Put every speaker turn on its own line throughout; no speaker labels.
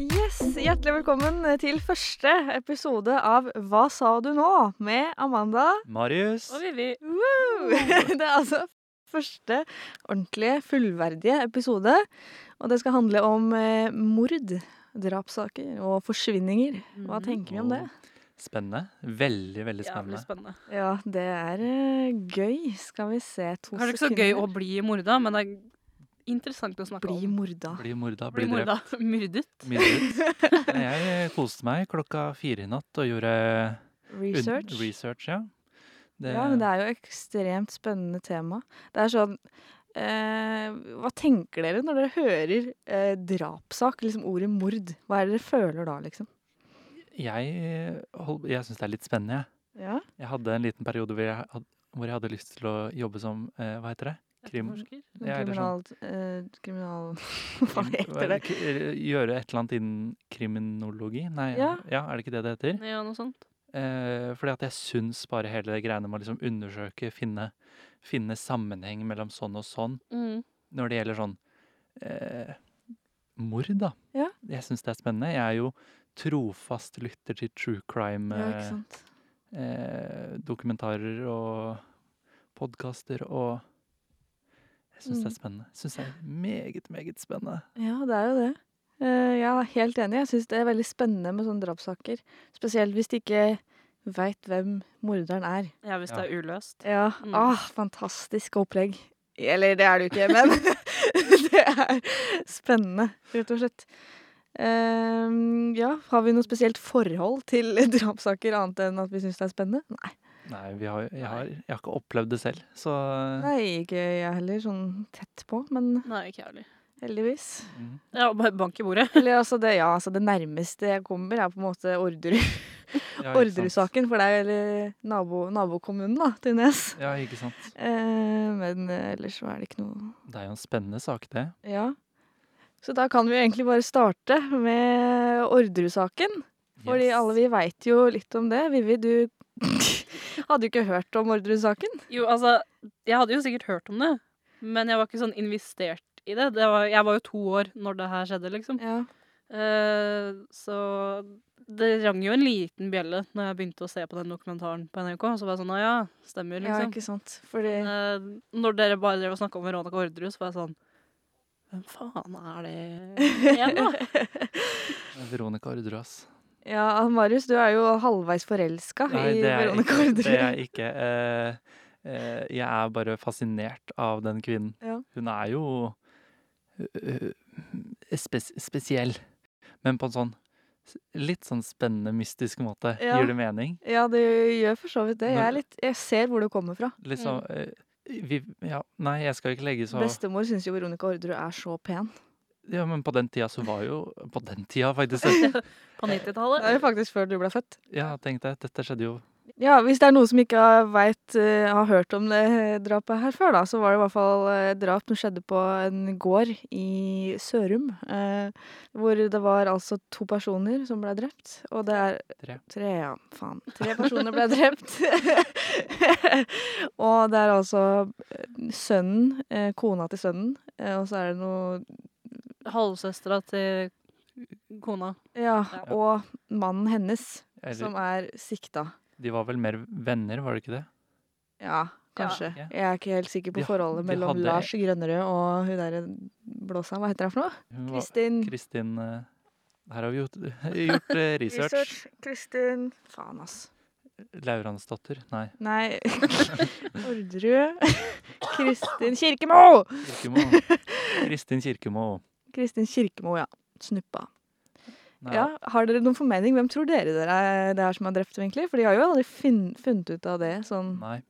Yes, Hjertelig velkommen til første episode av Hva sa du nå? med Amanda.
Marius.
Og Vivi.
Woo! Det er altså første ordentlige, fullverdige episode. Og det skal handle om eh, mord, drapssaker og forsvinninger. Hva
Mhm.
tenker vi om det?
Spennende. Veldig, veldig
Jævlig
spennende.
spennende.
Ja, det er eh, gøy. Skal vi se to
Kanskje ikke så gøy å bli morda, men det er interessant å snakke
bli
om.
morda.
Bli morda, bli
Bli
drept.
morda. Myrdet.
Myrdet. Jeg koste meg klokka fire i natt og gjorde un-
Research.
research ja. Det,
Ja, men det er jo ekstremt spennende tema. Det er sånn eh, Hva tenker dere når dere hører eh, drapssak, liksom ordet mord? Hva er det dere føler da, liksom?
Jeg, hold- jeg syns det er litt spennende, jeg.
Ja,
Jeg hadde en liten periode hvor jeg, had- hvor jeg hadde lyst til å jobbe som eh, Hva heter det? Krim.
Etterforsker.
sånn
Ja, eller
kriminal, eh, kriminal Hva heter det?
K- eh, Gjøre et eller annet innen kriminologi? Nei, ja,
Ja.
er det ikke det det heter?
Ja, noe sånt.
Eh, fordi at jeg syns bare hele det greiene med å liksom undersøke, finne, finne sammenheng mellom sånn og sånn,
Mm.
når det gjelder sånn eh, mord, da.
Ja.
Jeg syns det er spennende. Jeg er jo trofast lytter til true
Ja, ikke
crime-dokumentarer
sant.
eh, dokumentarer og podkaster og Jeg syns
Mm.
det er spennende. Syns det er meget, meget spennende.
Ja, det er jo det. Eh, jeg er helt enig. Jeg syns det er veldig spennende med sånne drapssaker. Spesielt hvis de ikke veit hvem morderen er.
Ja, hvis det er uløst.
Ja,
Mm.
ah, fantastisk opplegg. Eller det er det jo ikke, men det er spennende, rett og slett. Ehm, ja, har vi noe spesielt forhold til drapssaker annet enn at vi syns det er spennende? Nei.
Nei, vi har, jeg, har, jeg har ikke opplevd det selv, så
Nei, ikke jeg heller, sånn tett på, men
Nei, ikke jeg heller.
heldigvis.
mm.
Ja, bare bank i bordet.
Eller altså det, ja, altså det nærmeste jeg kommer, er på en måte Orderud-
Ja, ikke sant.
Orderud-saken, for det er eller nabo, nabokommunen da, til Nes.
Ja, ikke sant.
Eh, men eh, ellers så er det ikke noe
Det er jo en spennende sak, det.
Ja. Så da kan vi jo egentlig bare starte med Orderud-saken. Fordi
Yes.
alle vi veit jo litt om det. Vivi, du hadde jo ikke hørt om Orderud-saken.
Jo, altså, jeg hadde jo sikkert hørt om det, men jeg var ikke sånn investert i det. det var, jeg var jo to år når det her skjedde, liksom.
Ja.
Eh, så det rang jo en liten bjelle når jeg begynte å se på den dokumentaren på NRK. Så var jeg sånn, «Å ja,
ja,
stemmer, liksom.
ikke sant. Fordi
Eh, når dere bare drev og snakka om Veronica Orderud, så var jeg sånn Hvem faen er det igjen, da?
Veronica Orderud, ass.
Ja, Marius, du er jo halvveis forelska
Nei,
i
det er
Veronica
ikke- Det er
Orderud.
jeg ikke. Eh, eh, jeg er bare fascinert av den kvinnen.
Ja.
Hun er jo eh, spes spesiell, men på en sånn s- litt sånn spennende, mystisk måte.
Ja.
Gir det mening?
Ja, det gjør for så vidt det. Jeg,
Men-
er litt, jeg ser hvor du kommer fra.
Litt sånn eh, vi, ja, Nei, jeg skal ikke legge så
Bestemor syns jo Veronica Orderud er så pen.
Ja, men på den tida så var jo På den tida, faktisk.
På
Det er
90-tallet?
jo faktisk før du ble født.
Ja, tenk deg. Dette skjedde jo
Ja, hvis det er noen som ikke har, vet, eh, har hørt om det drapet her før, da, så var det i hvert fall eh, et drap som skjedde på en gård i Sørum. Eh, hvor det var altså to personer som ble drept. Og det er
Tre.
ja. Faen. Tre personer ble drept. og det er altså eh, sønnen, eh, kona til sønnen, eh, og så er det noe
Halvsøstera til kona.
Ja,
Ja.
og mannen hennes
eller,
som er sikta.
De var vel mer venner, var det ikke det?
Ja, kanskje.
Ja.
Jeg er ikke helt sikker på
De ha-
forholdet
de
mellom
hadde-
Lars Grønnerød og hun derre blåsa, hva heter hun for noe?
Hun var-
Kristin.
Kristin eh, Her har vi gjort, gjort eh, research.
Kristin Faen, ass.
Lauransdatter. Nei.
Nei Orderud. Kristin Kirkemo!
Kirkemo. Kristin Kirkemo.
Kristin Kirkemo, ja. Snuppa.
Nei,
Ja, Har dere noen formening? Hvem tror dere dere er det er som har drept dem, egentlig? For de har jo aldri finn, funnet ut av det. Sånn.
nei.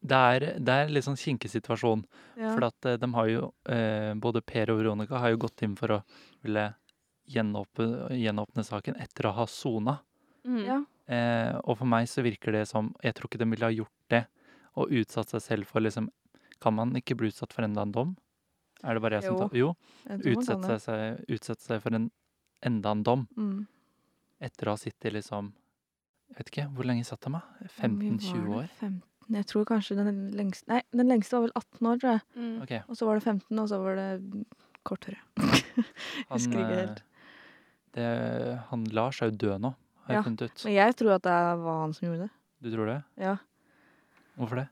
Det er, det er litt sånn kinkig situasjon.
Ja.
For at eh, de har jo eh, Både Per og Veronica har jo gått inn for å ville gjenåpne, gjenåpne saken etter å ha sona.
Mm.
Ja.
Eh, og for meg så virker det som Jeg tror ikke de ville ha gjort det og utsatt seg selv for liksom Kan man ikke bli utsatt for enda en dom? Er det bare jeg som
Jo.
tar Jo.
Jeg tror man kan
Utsette
det.
seg, utsette seg for en, enda en dom
Mm.
etter å ha sittet liksom Jeg vet ikke, hvor lenge satt de, da?
Hvor mye
15-20
var
år?
det? 15, jeg tror kanskje den lengste Nei, den lengste var vel 18 år, tror jeg.
Mm.
Ok,
Og så var det 15, og så var det kortere.
han,
Husker ikke
eh,
helt.
det, han Lars er jo død nå, har jeg
Ja,
funnet ut.
Men jeg tror at det var han som gjorde det.
Du tror det?
Ja.
Hvorfor det?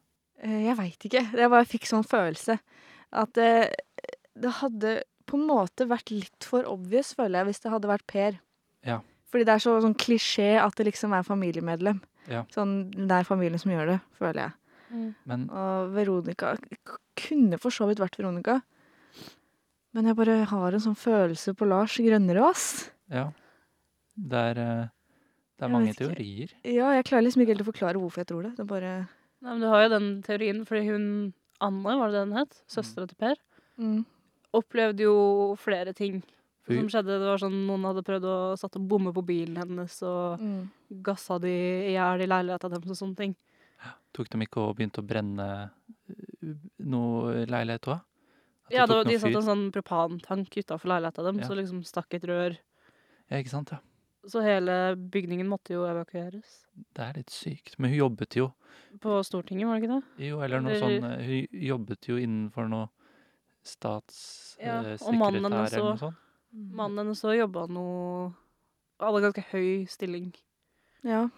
Eh, Jeg veit ikke. Jeg bare fikk sånn følelse. At det, det hadde på en måte vært litt for obvious, føler jeg, hvis det hadde vært Per.
Ja.
Fordi det er så, sånn klisjé at det liksom er familiemedlem.
Ja.
Sånn, det er familien som gjør det, føler jeg.
Mm.
Men
Og Veronica k- kunne for så vidt vært Veronica. Men jeg bare har en sånn følelse på Lars Grønnerud, ass.
ja. Det er, eh, det
Jeg
er mange
vet ikke.
teorier.
Ja, jeg klarer liksom ikke helt å forklare hvorfor jeg tror det. Det er bare
Nei, men du har jo den teorien, fordi hun Anne, var det det hun het? Søstera til Per.
mm.
Opplevde jo flere ting
For
som skjedde. Det var sånn Noen hadde prøvd å satt og bomme på bilen hennes, og
Mm.
gassa de i hjel i leiligheta deres og sånne ting.
Tok de ikke og begynte å brenne eh, noe leilighet òg?
Ja, det var, de satte en sånn propantank utafor leiligheta dem,
Ja.
så liksom stakk et rør.
sånn.
Ja, ikke sant? ja.
Så hele bygningen måtte jo evakueres.
Det er litt sykt. Men hun jobbet jo
På Stortinget, var det ikke det?
Jo, eller noe
Eller-
sånn eh, Hun jobbet jo innenfor noe
Ja, og
statssekretær
mannen hennes
eller noe
også.
sånt.
Mm.
Mannen hennes òg jobba noe Hadde ganske høy stilling.
Ja.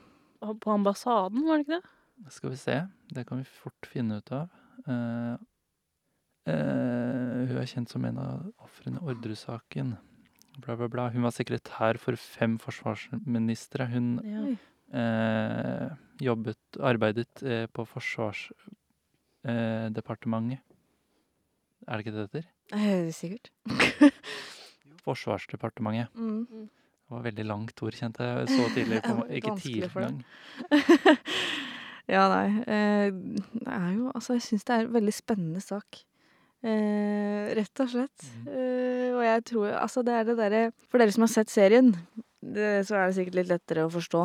Og På ambassaden, var det ikke det?
Skal vi se. Det kan vi fort finne ut av. Eh, eh, hun er kjent som en av ofrene i Ordresaken. Bla, bla, bla. Hun var sekretær for fem forsvarsministre. Hun
Ja.
Oi.
eh, jobbet, arbeidet eh, på Forsvarsdepartementet. Eh, departementet. er det ikke det det heter?
Eh, Sikkert.
Forsvarsdepartementet.
Mm.
Det var veldig langt ord, kjente jeg så tidlig. På,
Det var
ikke
vanskelig
tidlig
for deg.
engang.
Ja, nei. eh, Det er jo Altså, jeg syns det er en veldig spennende sak. Eh, rett og slett. Eh, og jeg tror Altså, det er det derre For dere som har sett serien, det, så er det sikkert litt lettere å forstå.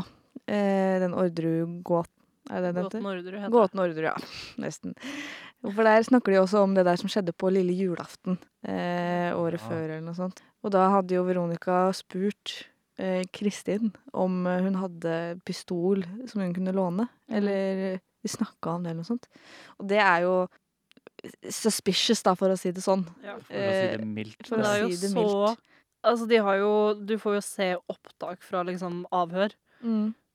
Eh, den Orderud-gåten, er det den heter?
Gåten Orderud heter det.
Gåten Orderud, ja. Nesten. For der snakker de også om det der som skjedde på lille julaften eh, året
Ja.
før, eller noe sånt. Og da hadde jo Veronica spurt eh, Kristin om eh, hun hadde pistol som hun kunne låne. Eller de snakka om det, eller noe sånt. Og det er jo suspicious, da, for å si det sånn.
Ja.
For å si
Eh,
det mildt.
for
Men det er jo
si det
så
mildt.
Altså, de har jo Du får jo se opptak fra liksom avhør.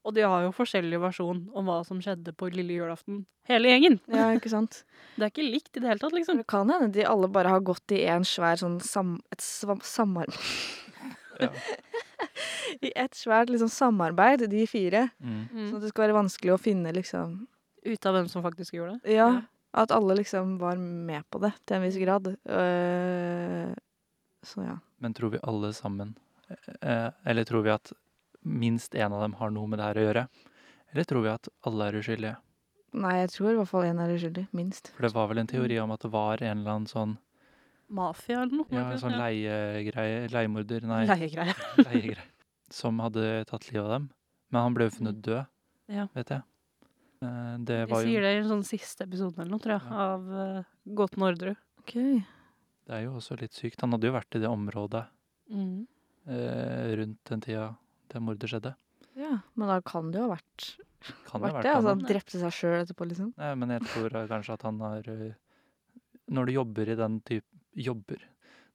Og de har jo forskjellig versjon om hva som skjedde på lille julaften. Hele gjengen.
Ja, ikke sant?
Det er ikke likt i det hele tatt,
Men
liksom.
Det kan hende de alle bare har gått i en svær sånn sam, et svam, samarbeid
Ja.
I et svært liksom, samarbeid, de fire.
Mm.
Sånn at det skal være vanskelig å finne liksom
Ut av hvem som faktisk gjorde det.
Ja. At alle liksom var med på det til en viss grad. Eh, så ja.
Men tror vi alle sammen eh, Eller tror vi at minst én av dem har noe med det her å gjøre? Eller tror vi at alle er uskyldige?
Nei, jeg tror i hvert fall én er uskyldig. Minst.
For det var vel en teori om at det var en eller annen sånn,
Mafia eller noe.
ja, en sånn leiegreie Leiemorder, nei,
Leiegreie.
leiegreie. Som hadde tatt livet av dem. Men han ble jo funnet død,
Ja.
vet jeg. Eh, Det
De
var jo
sier det i en sånn siste episode eller noe, tror jeg,
Ja.
av eh, Gåten Orderud.
Ok.
Det er jo også litt sykt. Han hadde jo vært i det området
Mm.
eh, rundt den tida det mordet skjedde.
Ja. Men da kan det jo ha vært,
Kan jo ha
vært
vært
det.
han,
Altså,
da.
han drepte seg sjøl etterpå, liksom.
Nei, men jeg tror eh, kanskje at han har eh, Når du jobber i den type Jobber.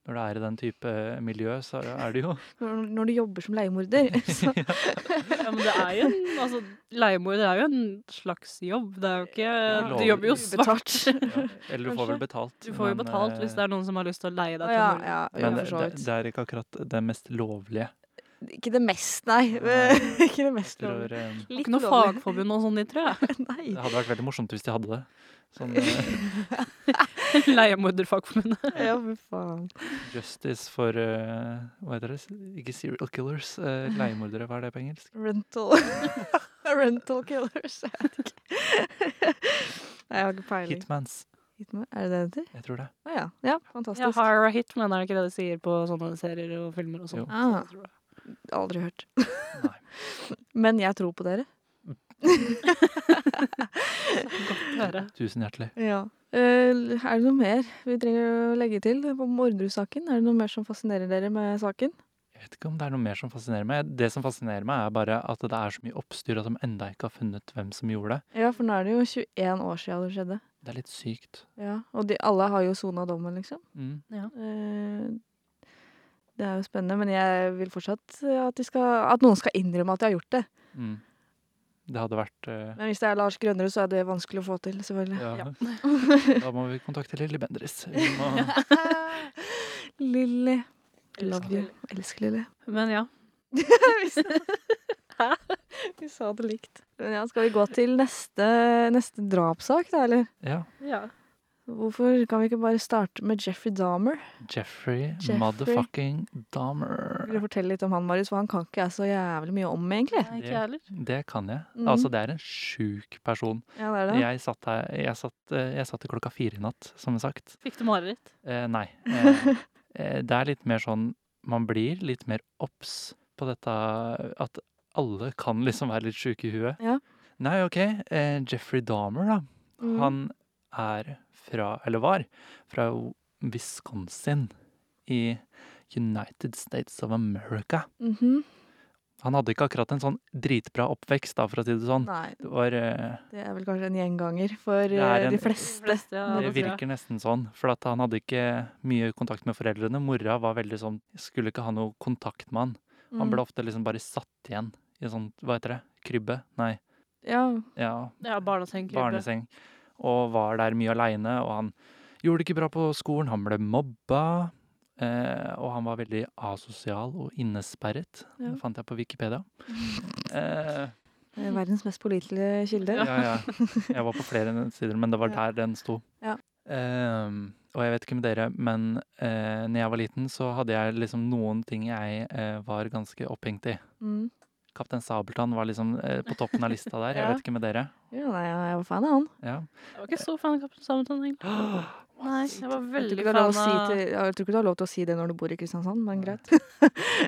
Når du er i den type eh, miljø, så er det jo
Når, når du jobber som leiemorder, så
Ja, men det er jo en altså, Leiemorder er jo en slags jobb. Det er jo ikke Du
lov-
jobber jo svart.
Ubetalt.
ja, Eller du får vel betalt.
Du får jo
men,
betalt hvis
eh,
det er noen som har lyst til å leie
Å
deg til
ja,
Norge.
ja, ja,
men det,
for så
det,
vidt.
det er ikke akkurat det mest lovlige.
Ikke det mest, nei.
Nei.
ikke det mest
Tror,
lovlige.
eh,
Det er Ikke noe
lovlig.
fagforbund og sånn i, tror jeg.
Nei.
det hadde vært veldig morsomt hvis de hadde det. Sånn eh,
Leiemorderfagforbundet.
Ja, fy faen.
justice for eh, Hva heter det? Ikke serial killers. eh, leiemordere, hva er det på engelsk?
Rental Rental killers. Jeg vet ikke. Nei, jeg har ikke peiling.
Hitmans.
Hitman. Er det det det heter?
Jeg tror det.
Å ja. ja.
Ja,
Fantastisk.
hire a hitman, er det ikke det de sier på sånne serier og filmer og
Jo.
sånn?
Ah.
Så jeg tror det.
Aldri hørt.
Nei.
Men jeg tror på dere.
Godt å høre.
Tusen hjertelig.
Ja. Eh, er det noe mer vi trenger å legge til om Orderud-saken? Er det noe mer som fascinerer dere med saken?
Jeg vet ikke om det er noe mer som fascinerer meg. Det som fascinerer meg, er bare at det er så mye oppstyr at de enda ikke har funnet hvem som gjorde det.
Ja, for nå er det jo 21 år siden det skjedde.
Det er litt sykt.
Ja, Og de, alle har jo sona dommen, liksom.
Mm.
Eh, det er jo spennende, men jeg vil fortsatt eh, at, de skal, at noen skal innrømme at de har gjort det.
Mm. Det hadde vært eh,
Men hvis det er Lars Grønnerud, så er det vanskelig å få til, selvfølgelig.
ja.
Ja.
Da må vi kontakte Lilly Bendriss. Vi må
Lilly.
Elsker
Love you. Elsker Lilly.
Men ja.
Vi sa det likt. Men ja, skal vi gå til neste, neste drapssak, da, eller?
Ja.
ja.
Hvorfor kan vi ikke bare starte med Jeffrey Dahmer?
Jeffrey,
Jeffrey.
motherfucking
Vil du
Dahmer.
fortelle litt om han, Marius? For han kan ikke jeg så jævlig mye om, egentlig.
Nei, ikke jeg heller.
Det kan jeg.
Mhm.
Altså, det er en sjuk person.
Ja, det er det.
Jeg satt, her, jeg, satt, eh, jeg satt til klokka fire i natt, som sagt.
Fikk du mareritt?
Eh, nei. Eh, eh, det er litt mer sånn Man blir litt mer obs på dette at alle kan liksom være litt sjuke i huet.
Ja.
Nei, OK. Eh, Jeffrey Dahmer, da.
Mm.
Han er fra, eller var, fra Wisconsin i United States of America.
Mhm.
Han hadde ikke akkurat en sånn dritbra oppvekst, da, for å si det sånn.
Nei,
Det var eh,
det er vel kanskje en gjenganger for
er
eh,
en-
de fleste.
fleste, ja,
Nå
Det
det tror jeg.
virker nesten sånn, for at han hadde ikke mye kontakt med foreldrene. Mora var veldig sånn, skulle ikke ha noe kontakt med han. Han
Mm.
ble ofte liksom bare satt igjen i en sånn, hva heter det, krybbe? Nei,
Ja,
ja,
Ja, barneseng.
barneseng. Og var der mye aleine, og han gjorde det ikke bra på skolen. Han ble mobba, eh, og han var veldig asosial og innesperret.
Ja.
Det fant jeg på Wikipedia. Eh,
eh, verdens mest pålitelige kilde.
Ja, ja. Jeg var på flere sider, men det var der den sto.
Ja.
Ehm, og jeg vet ikke med dere, men uh, når jeg var liten, så hadde jeg liksom noen ting jeg eh, var ganske opphengt i.
Mm.
Kaptein Sabeltann var liksom eh, på toppen av lista der. Jeg
Ja.
vet ikke med dere.
ja nei, jeg var fan av han.
Ja.
Jeg var ikke så fan av Kaptein Sabeltann, egentlig. Nei, jeg var
Jeg tror ikke
veldig
du har lov
fan av
å si til- jeg tror ikke du har lov til å si det når du bor i Kristiansand, men greit.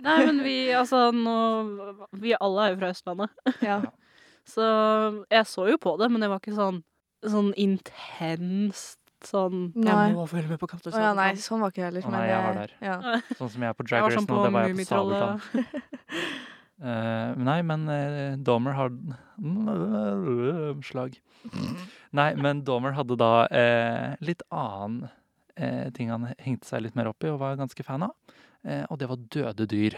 Nei, men vi, altså, nå Vi alle er jo fra Østlandet.
Ja.
Så jeg så jo på det, men det var ikke sånn, sånn intenst sånn
Nei.
Jeg må følge med på Kaptein
Å ja, nei,
Sabeltann.
sånn var ikke jeg heller.
Å, nei,
men
jeg var
Ja.
Sånn som jeg er på Drag
Jeg var
Race
sånn
nå,
på
det var jeg på Sabeltann.
Mummitrollet.
Eh, nei, men uh, Dahmer hadde Slag. Nei, men Dahmer hadde da eh, litt annen eh, ting han hengte seg litt mer opp i og var ganske fan av. Eh, og det var døde dyr.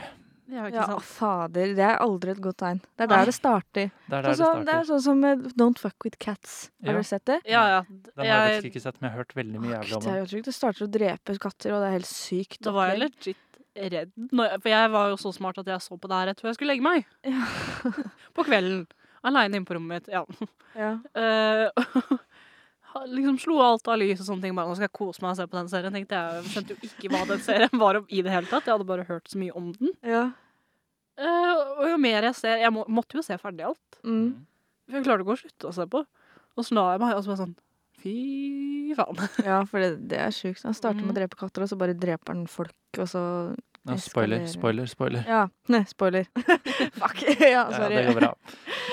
Ja, ikke
ja,
sant.
fader. Det er aldri et godt tegn. Det er
Nei.
der det starter.
Det er
Sånn som-
der
det
det
er
starter.
sånn som eh, Don't Fuck With Cats. Har
Ja.
du sett det?
Ja, ja.
Den har jeg faktisk
Jeg,
ikke sett, men jeg har hørt veldig mye jævlig
Det
om
er
den.
jo sjukt. Det starter å drepe katter, og det er helt sykt.
da var jeg
opplegg.
legit redd. Når jeg, for jeg var jo så smart at jeg så på det her rett før jeg skulle legge meg. på kvelden. Aleine inne på rommet mitt. Ja.
Ja.
Eh, ha- liksom slo alt av lys og sånne ting. Bare, nå skal jeg kose meg og se på den serien. Tenkte jeg, jeg skjønte jo ikke hva den serien var om i det hele tatt. Jeg hadde bare hørt så mye om den.
ja.
Eh, og jo mer jeg ser Jeg må, måtte jo se ferdig alt.
Mm.
For jeg klarte ikke å slutte å se på. Og så la jeg meg, og så ble jeg sånn Fy faen.
ja, for det, det er sjukt. Han starter med å
Mm.
drepe katter, og så bare dreper han folk, og så
Ja, spoiler,
Eskalerer.
spoiler, spoiler.
Ja. Nei, spoiler. Fuck. Ja,
Ja, ja,
sorry.
det går bra.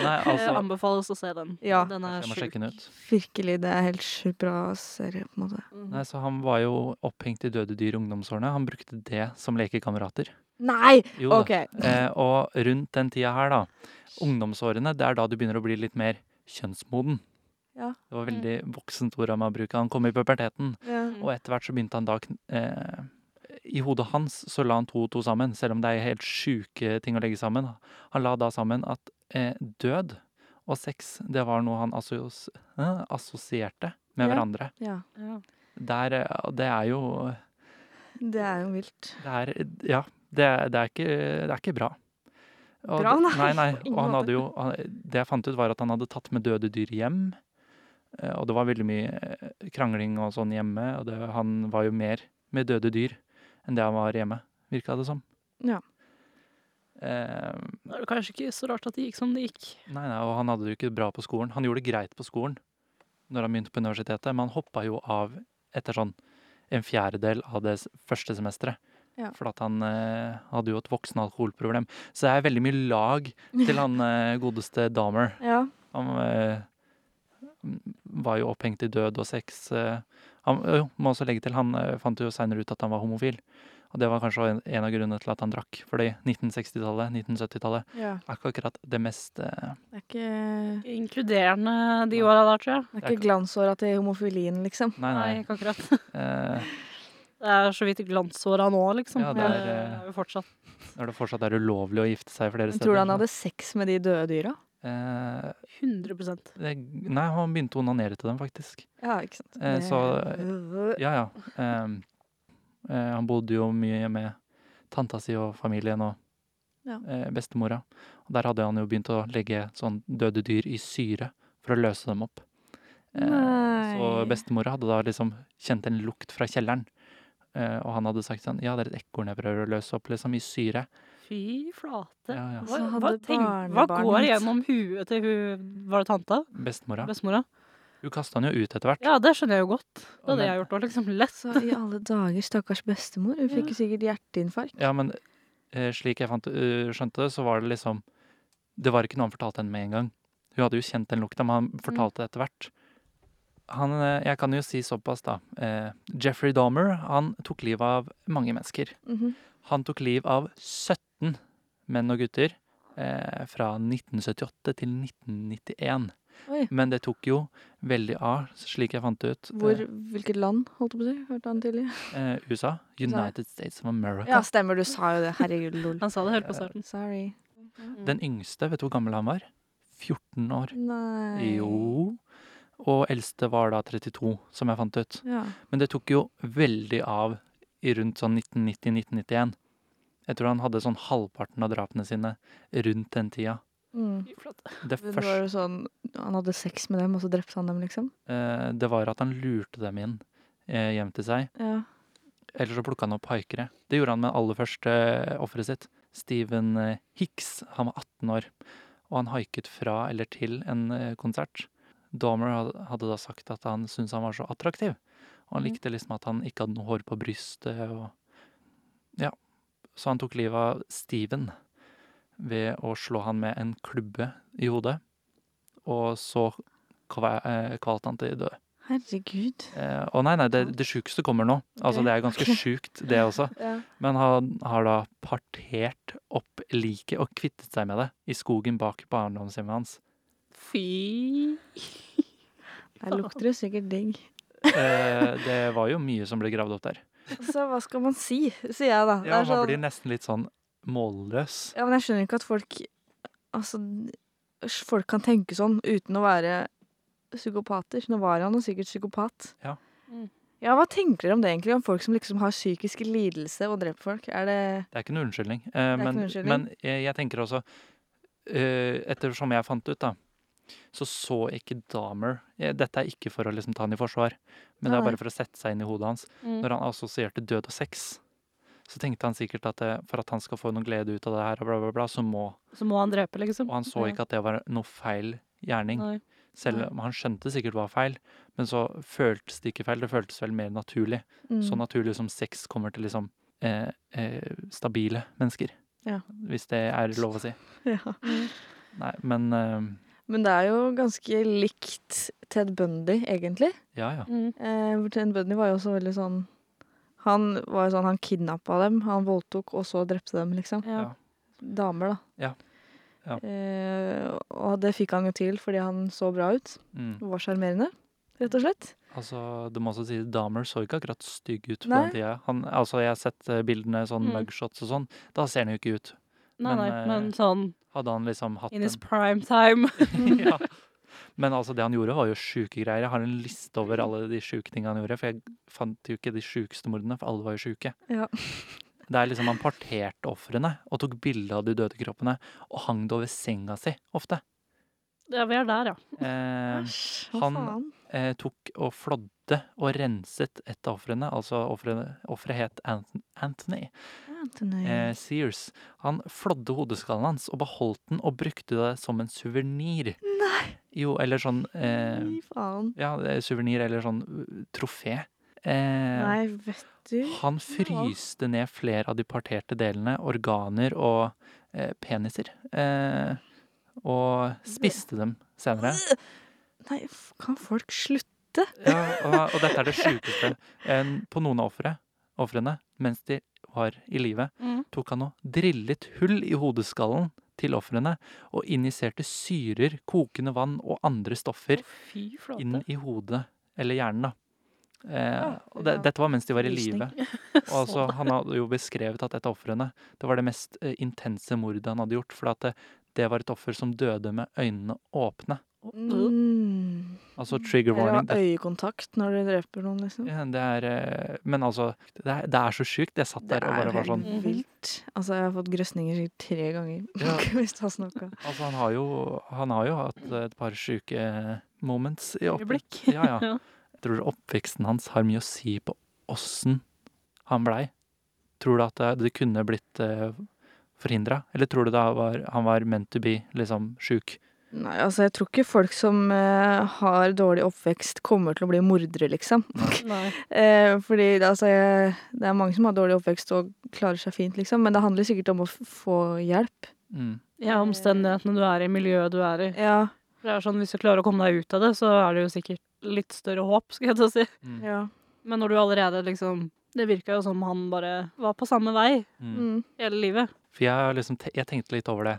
Nei,
Eh,
altså
anbefales å se den.
Ja.
Den er
Jeg må
sjuk.
sjekke den ut.
Virkelig, det er helt sjukt bra serie, på en måte.
Mm.
Nei, så Han var jo opphengt i døde dyr i ungdomsårene. Han brukte det som lekekamerater.
Nei!
Jo da.
OK.
Eh, og rundt den tida her, da. Ungdomsårene, det er da du begynner å bli litt mer kjønnsmoden.
Ja.
Det var veldig voksent ord han bruke. Han kom i puberteten,
Ja.
og etter hvert så begynte han da kn- eh, I hodet hans så la han to og to sammen, selv om det er helt sjuke ting å legge sammen. Han la da sammen at eh, død og sex, det var noe han assos- eh, assosierte med
Ja.
hverandre.
ja.
Ja.
Der, eh, og det er jo
Det er jo vilt.
det er, ja, det, er- det, er ikke, det er ikke bra. Og
Bra,
det-
nei,
nei, nei.
på ingen
Og han
måte.
hadde jo, han, det jeg fant ut, var at han hadde tatt med døde dyr hjem. eh, Og det var veldig mye eh, krangling og sånn hjemme. Og det, han var jo mer med døde dyr enn det han var hjemme, virka det som.
Ja.
Eh,
Da er det kanskje ikke så rart at det gikk som det gikk.
nei, nei, og han hadde det jo ikke bra på skolen. Han gjorde det greit på skolen når han begynte på universitetet, men han hoppa jo av etter sånn en fjerdedel av det s- første semesteret.
Ja.
For at han eh, hadde jo et voksenalkoholproblem. Så det er veldig mye lag til han eh, godeste Dahmer.
Ja.
Han eh, var jo opphengt i død og sex. eh. Han jo, må også legge til, han eh, fant jo seinere ut at han var homofil. Og det var kanskje en- en av grunnene til at han drakk. Fordi 1960-tallet, 1970-tallet
Ja.
er ikke akkurat det mest eh,
Det er ikke,
Inkluderende de åra der, tror jeg.
det
Det
er
er
ikke glansåra til homofilien, liksom.
Nei,
Nei,
nei.
ikke akkurat.
Eh,
Det er så vidt glansåra nå, liksom.
Ja, det er,
Det
eh,
jo fortsatt.
når det fortsatt er ulovlig å gifte seg flere
Men
steder.
tror du han hadde sex med de døde dyra?
Eh,
100
det, nei, han begynte å onanere til dem, faktisk.
Ja, ikke sant.
Eh, så-
Det-
Ja, ja. Ehm, eh, han bodde jo mye med tanta si og familien og
Ja.
eh, bestemora. Og der hadde han jo begynt å legge sånn døde dyr i syre for å løse dem opp. Eh,
Nei.
så bestemora hadde da liksom kjent en lukt fra kjelleren. Eh, og han hadde sagt sånn Ja, det er et ekorn jeg prøver å løse opp, liksom, i syre.
Fy flate.
Ja, ja.
Hva,
Så
hva,
hadde
tenk, hva går
barnebarnet-
gjennom huet til hun Var det tanta?
Bestemora.
Bestemora?
Hun kasta han jo ut etter hvert.
Ja, det skjønner jeg jo godt. Det
Men-
hadde jeg gjort òg, liksom. Lett.
Så i alle dager, stakkars bestemor. Hun fikk jo sikkert hjerteinfarkt.
Ja, men eh, slik jeg fant, eh, skjønte det, så var det liksom Det var ikke noe han fortalte henne med en gang. Hun hadde jo kjent den lukta, men han
Mm.
fortalte det etter hvert. Han, eh, jeg kan jo si såpass, da. Eh, Jeffrey Dahmer, han tok livet av mange mennesker.
Mhm.
Han tok liv av 17 menn og gutter eh, fra 1978 til 1991.
Oi.
Men det tok jo veldig av, slik jeg fant ut.
Hvor,
Eh,
hvilket land, holdt jeg på å si? Hørte han tidlig?
Eh, USA. United States of America.
Ja, stemmer, du sa jo det. Herregud, lol.
Han sa det helt på starten.
Sorry. Mm.
Den yngste, vet du hvor gammel han var? 14 år.
Nei.
Jo. Og eldste var da 32, som jeg fant ut.
Ja.
Men det tok jo veldig av i rundt sånn 1990-1991. Jeg tror han hadde sånn halvparten av drapene sine rundt den tida.
Mm.
Fy flate.
Det
Men det var
første
jo sånn, han hadde sex med dem, og så drepte han dem, liksom?
eh, det var at han lurte dem inn eh, hjem til seg.
Ja.
Eller så plukka han opp haikere. Det gjorde han med aller første offeret sitt. Steven eh, Hicks. Han var 18 år, og han haiket fra eller til en eh, konsert. Dahmer had- hadde da sagt at han syntes han var så attraktiv. Og han
Mhm.
likte liksom at han ikke hadde noe hår på brystet og Ja. Så han tok livet av Steven ved å slå han med en klubbe i hodet. Og så kva- eh, kvalte han til døde.
Herregud.
Eh, Å nei, nei, det, det sjukeste kommer nå. Altså,
Ok.
det er ganske sjukt, det også.
Ja.
Men han har da partert opp liket og kvittet seg med det i skogen bak barndomshjemmet hans.
Fy
Der lukter det sikkert digg.
Eh, det var jo mye som ble gravd opp der.
Så Altså, hva skal man si, sier jeg da. Det
Ja,
er
man
sånn-
blir nesten litt sånn målløs.
Ja, men jeg skjønner ikke at folk Altså, s- folk kan tenke sånn uten å være psykopater. Nå var han jo sikkert psykopat.
Ja.
Mm.
Ja, hva tenker dere om det egentlig? Om folk som liksom har psykisk lidelse og dreper folk? Er det
Det er ikke noe unnskyldning. Eh,
ikke
men,
noe unnskyldning.
men jeg, jeg tenker også eh, Ettersom jeg fant ut, da, så så ikke Dahmer eh, Dette er ikke for å liksom ta han i forsvar, men det
Nei,
er
nei.
bare for å sette seg inn i hodet hans.
Mm.
Når han assosierte død og sex, så tenkte han sikkert at eh, for at han skal få noe glede ut av det her, og bla, bla, bla, så må
Så må han drepe, liksom.
Og han så
Ja.
ikke at det var noe feil gjerning.
Nei.
Selv om han skjønte sikkert hva var feil, men så føltes det ikke feil. Det føltes vel mer naturlig.
mm.
Så naturlig som sex kommer til liksom eh, eh, stabile mennesker.
Ja.
Hvis det er lov å si.
ja.
Nei, men eh,
Men det er jo ganske likt Ted Bundy, egentlig.
ja, ja.
Mm.
Eh, hvor Ted Bundy var jo også veldig sånn Han var jo sånn, han kidnappa dem, han voldtok, og så drepte dem, liksom.
Ja.
Ja.
Damer, da.
Ja. Ja.
Eh, og det fikk han jo til fordi han så bra ut.
Mm.
var sjarmerende, rett og slett.
Altså, du må også si Dahmer så ikke akkurat stygg ut på
Nei.
den tida. Han, altså, jeg har sett eh, bildene, sånn
Mm.
mugshots og sånn. Da ser han jo ikke ut.
Nei, nei,
Men, eh,
men sånn
Hadde han liksom hatt
in his
en
prime time.
ja. Men altså, det han gjorde, var jo sjuke greier. Jeg har en liste over alle de sjuke tingene han gjorde. For jeg fant jo ikke de sjukeste mordene, for alle var jo sjuke.
Ja.
Det er liksom Han parterte ofrene og tok bilde av de døde kroppene og hang det over senga si ofte.
Ja, vi er der, ja.
Eh,
Æsj,
han- eh, tok og flådde og renset et av ofrene. Altså ofrene- offeret het Anth- Anthony
Anthony.
eh, Sears. Han flådde hodeskallen hans og beholdt den og brukte det som en suvenir. Jo, eller sånn eh,
Fy faen.
ja, det er suvenir eller sånn uh, trofé. Eh,
Nei, vet du.
han fryste ned flere av de parterte delene, organer og eh, peniser. Eh, og spiste dem senere.
Nei, f- kan folk slutte?
Ja, og, og dette er det sjukeste. En- På noen av offere- ofrene, mens de var i live,
Mm.
tok han og drillet hull i hodeskallen til ofrene og injiserte syrer, kokende vann og andre stoffer
Fy flate.
inn i hodet, eller hjernen, da. Eh,
Ja,
og det,
ja.
dette var mens de var i
Lysning.
live. Og altså, han hadde jo beskrevet at et av ofrene Det var det mest eh, intense mordet han hadde gjort. For at det, det var et offer som døde med øynene åpne.
Mm.
Altså trigger
Eller
warning.
ha
Det,
øyekontakt når du dreper noen, liksom.
ja, det er eh, Men altså, det er, det er så sjukt. Jeg satt der og bare var sånn
Mhm.
vilt. Altså, jeg har fått grøsninger sikkert tre ganger
Ja.
hvis jeg har snakka.
Altså, han har jo, han har jo hatt et par sjuke moments i opp...
Øyeblikk.
Ja, ja. Jeg tror oppveksten hans har mye å si på åssen han blei. Tror du at det- det kunne blitt eh, forhindra? Eller tror du det var, han var meant to be, liksom, sjuk?
Nei, altså, jeg tror ikke folk som eh, har dårlig oppvekst, kommer til å bli mordere, liksom.
Nei.
Eh, fordi det, altså, jeg, det er mange som har dårlig oppvekst og klarer seg fint, liksom. Men det handler sikkert om å f få hjelp.
Mm.
Ja, omstendighetene du er i, miljøet du er i.
Ja.
Det er sånn, Hvis du klarer å komme deg ut av det, så er det jo sikkert litt større håp. skal jeg ta og si.
Mm.
ja.
Men når du allerede liksom Det virka jo som han bare var på samme vei
Mm.
Mm.
hele livet.
For jeg, har liksom, te- jeg tenkte litt over det.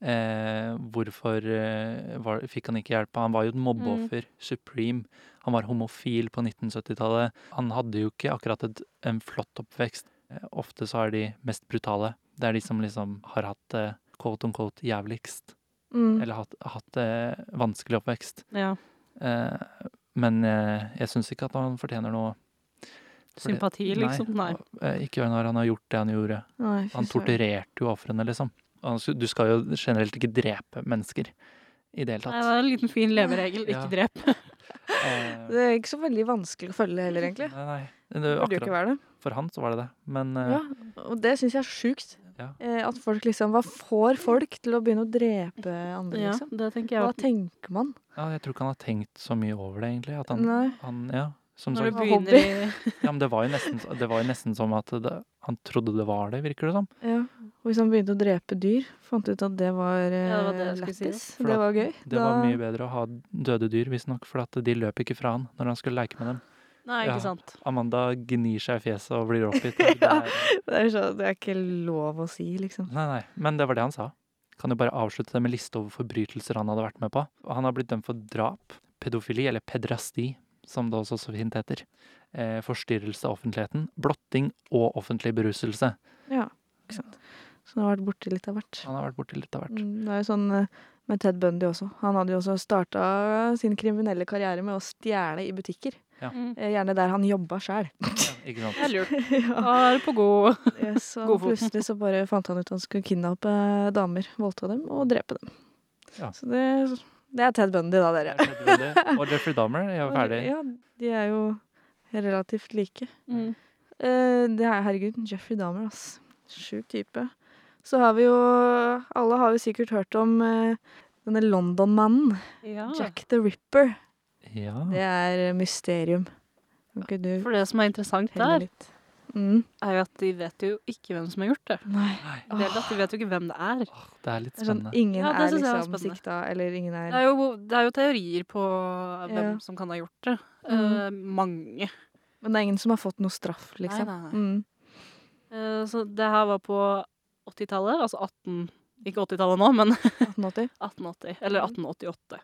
Eh, hvorfor eh, var, fikk han ikke hjelp? Han var jo et mobbeoffer.
Mm.
Supreme. Han var homofil på 1970-tallet. Han hadde jo ikke akkurat et, en flott oppvekst. Eh, ofte så er de mest brutale. Det er de som liksom har hatt eh, quote on quote jævligst.
Mm.
Eller hatt, hatt eh, vanskelig oppvekst.
Ja,
Eh, men eh, jeg syns ikke at han fortjener noe. For det-
Sympati, liksom. Nei.
Eh, Ikke når han har gjort det han gjorde.
Nei, fy
Han
søren.
torturerte jo ofrene, liksom. Han sku- Du skal jo generelt ikke drepe mennesker i det hele
Nei,
tatt.
det er en liten fin leveregel.
Ja.
Ikke drep.
Eh,
Det er ikke så veldig vanskelig å følge heller, egentlig.
Nei, nei.
Det
Det,
burde jo ikke
akkurat
være det.
for han så var det det. Men eh,
Ja, og det syns jeg er sjukt.
Ja.
Eh, At folk liksom Hva får folk til å begynne å drepe andre,
Ja,
liksom?
det tenker jeg.
Hva
også.
tenker man?
ja, jeg tror ikke han har tenkt så mye over det, egentlig. At han,
Nei.
han ja, som
Når du
sagt,
Hobby.
begynner i
ja, men det var jo nesten, det var jo nesten som at det, han trodde det var det, virker det som.
Ja. Og hvis han begynte å drepe dyr, fant ut at det var eh,
Ja, det var det jeg skulle si,
lættis.
For
det
at
var gøy.
Det var mye bedre å ha døde dyr, visstnok, for at de løp ikke fra han når han skulle leke med dem.
Nei,
Ja.
ikke sant.
Amanda gnir seg i fjeset og blir oppgitt. Det
Ja.
er-
det, er så, det er ikke lov å si, liksom.
Nei, nei, men det var det han sa. Kan jo bare avslutte det med liste over forbrytelser han hadde vært med på. Og han har blitt dømt for drap, pedofili, eller pedrasti, som det også så fint heter. Eh, forstyrrelse av offentligheten, blotting og offentlig beruselse.
Ja, ikke sant. Så han har vært borti litt av hvert.
Han har vært borti litt av hvert.
Mm, Det er jo sånn eh, med Ted Bundy også. Han hadde jo også starta sin kriminelle karriere med å stjele i butikker.
Mm.
Eh, Gjerne der han jobba sjæl.
Ja, ikke sant?
Det er lurt.
ja.
Da er du på god
Yes, og
Godfoten.
plutselig så bare fant han ut han skulle kidnappe damer, voldta dem og drepe dem.
Ja.
Så det, det er Ted Bundy, da, dere.
Jeg skjønner det. Og Jeffrey Dahmer jeg er ferdig.
Ja, de er jo relativt like.
Mm.
Eh, det er herregud, Jeffrey Dahmer, ass. Sjuk type. Så har vi jo Alle har jo sikkert hørt om eh, denne London-mannen.
Ja.
Jack the Ripper.
Ja.
Det er eh, mysterium. Kan ikke du
For det som er interessant
fortelle
der,
litt? Mm.
er jo at de vet jo ikke hvem som har gjort det.
Nei.
Nei,
Det er at De vet jo ikke hvem det er.
åh, det er litt
Det er sånn,
spennende.
ingen
Ja, det
er
synes jeg er
liksom
spennende.
sikta, eller ingen er
Det er jo, det er jo teorier på hvem
Ja.
som kan ha gjort det.
Mm.
Eh, mange.
Men det er ingen som har fått noe straff, liksom.
Nei, nei, nei.
Mm.
Eh, så det her var på 80-tallet, altså 18 Ikke 80-tallet nå, men
1880.
1880. Eller 1888.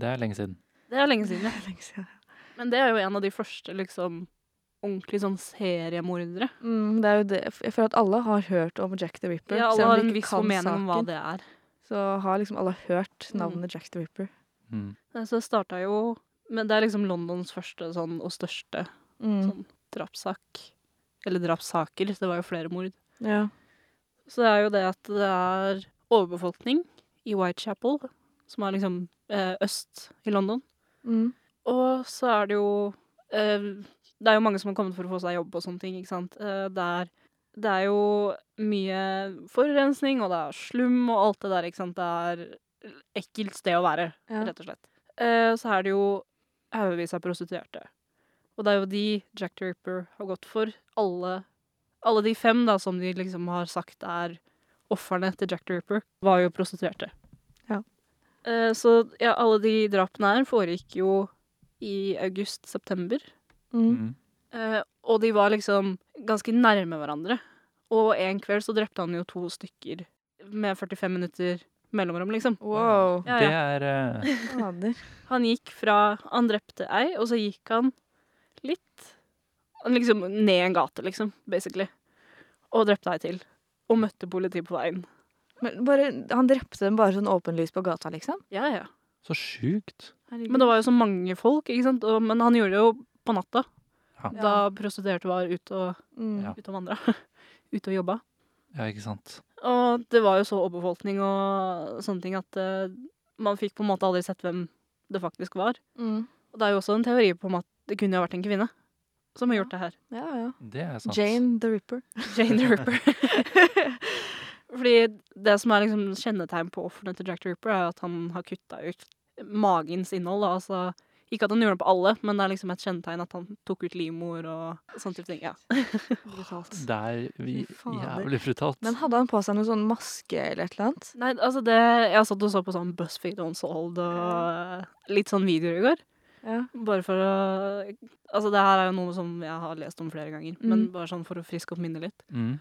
Det er lenge siden.
Det er lenge siden, ja.
Det er lenge siden.
Men det er jo en av de første liksom ordentlig sånn seriemordere.
Mm, det er jo det. Jeg føler at alle har hørt om Jack the Ripper.
Ja,
selv
alle
om
har
de
en
ikke
viss
kan
formening om hva
saken,
det er.
Så har liksom alle hørt navnet Jack the Ripper.
Mm.
Eh, Så det starta jo Men det er liksom Londons første sånn, og største
Mm.
drapssak. Eller drapssaker. Det var jo flere mord.
Ja.
Så det er jo det at det er overbefolkning i Whitechapel, som er liksom eh, øst i London.
Mm.
Og så er det jo eh, Det er jo mange som har kommet for å få seg jobb og sånne ting, ikke sant. Eh, det, er, det er jo mye forurensning, og det er slum og alt det der, ikke sant. Det er ekkelt sted å være,
Ja.
rett og slett. Eh, så er det jo haugevis av prostituerte. Og det er jo de Jack the Ripper har gått for. Alle, alle de fem da, som de liksom har sagt er ofrene til Jack the Ripper, var jo prostituerte. Eh, så ja, alle de drapene her foregikk jo i august-september.
Mm.
Mm.
Eh, og de var liksom ganske nærme hverandre. Og en kveld så drepte han jo to stykker med 45 minutter mellomrom, liksom.
Wow.
Ja,
Det
ja.
er eh,
Fader.
Han gikk fra Han drepte ei, og så gikk han litt Han liksom ned en gate, liksom, basically. Og drepte ei til. Og møtte politiet på veien.
Men bare, han drepte dem bare sånn åpenlys på gata, liksom?
Ja, ja.
så sjukt.
Men det var jo så mange folk, ikke sant. Og, men han gjorde det jo på natta.
Ja.
Da prostituerte var ute og,
mm.
Ja.
ut og vandra. ute og jobba.
Ja, ikke sant.
Og det var jo så overbefolkning og sånne ting at eh, man fikk på en måte aldri sett hvem det faktisk var.
Mm.
Og det er jo også en teori på om at det kunne jo vært en kvinne som har gjort det her.
ja, ja.
Det er sant.
Jane the Ripper.
Jane the Ripper. Fordi det som er liksom kjennetegn på ofrene til Jack the Ripper, er at han har kutta ut magens innhold. Da. Altså, ikke at han gjorde det på alle, men det er liksom et kjennetegn at han tok ut livmor og sånne type ting. Ja.
Brutalt.
Det er vi,
Fy fader.
jævlig brutalt.
Men hadde han på seg noen sånn maske eller et eller annet?
Nei, altså det Jeg satt og så på sånn BuzzFeed Unsolved og litt sånn videoer i går.
Ja.
Bare for å Altså, det her er jo noe som jeg har lest om flere ganger,
Mm.
men bare sånn for å friske opp minnet litt.
Mm.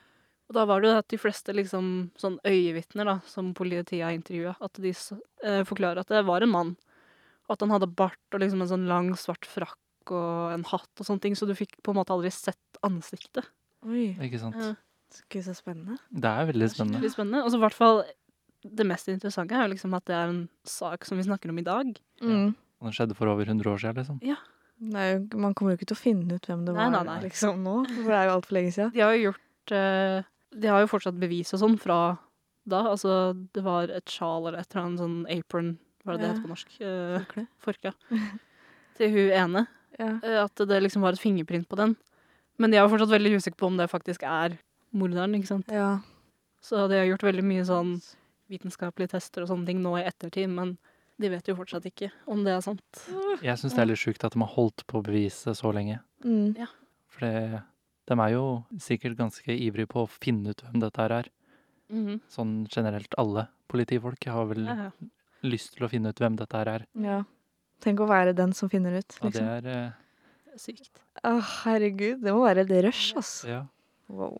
Og da var det jo at de fleste liksom sånn øyevitner, da, som politiet har intervjua, at de s- eh, forklarer at det var en mann. Og at han hadde bart og liksom en sånn lang, svart frakk og en hatt og sånne ting, så du fikk på en måte aldri sett ansiktet.
Oi,
Ikke sant.
Ja.
gud så spennende.
Det er veldig spennende.
Litt spennende. Og så i hvert fall det mest interessante er jo liksom at det er en sak som vi snakker om i dag.
Mm.
Det skjedde for over 100 år siden, liksom.
Det er jo, man kommer jo ikke til å finne ut hvem det
Nei,
var
nei, nei.
liksom nå, for det er jo altfor lenge siden.
De har jo gjort eh, De har jo fortsatt bevis og sånn fra da. Altså, det var et sjal eller et eller annet sånn apron, hva er det det
Ja.
heter på norsk? Uh,
Forkle.
Forkle. Til hun ene.
Ja.
eh, at det liksom var et fingerprint på den. Men de er jo fortsatt veldig usikre på om det faktisk er morderen, ikke sant.
ja.
Så de har gjort veldig mye sånn vitenskapelige tester og sånne ting nå i ettertid, men de vet jo fortsatt ikke om det er sant.
Jeg syns det er litt sjukt at de har holdt på beviset så lenge.
Mm.
For det, de er jo sikkert ganske ivrige på å finne ut hvem dette her er. Sånn generelt alle politifolk har vel
ja, ja.
lyst til å finne ut hvem dette her er.
ja. Tenk å være den som finner ut,
Og det
liksom.
er eh,
Det er Sykt.
Å, herregud, det må være et rush, ass.
Ja.
Wow.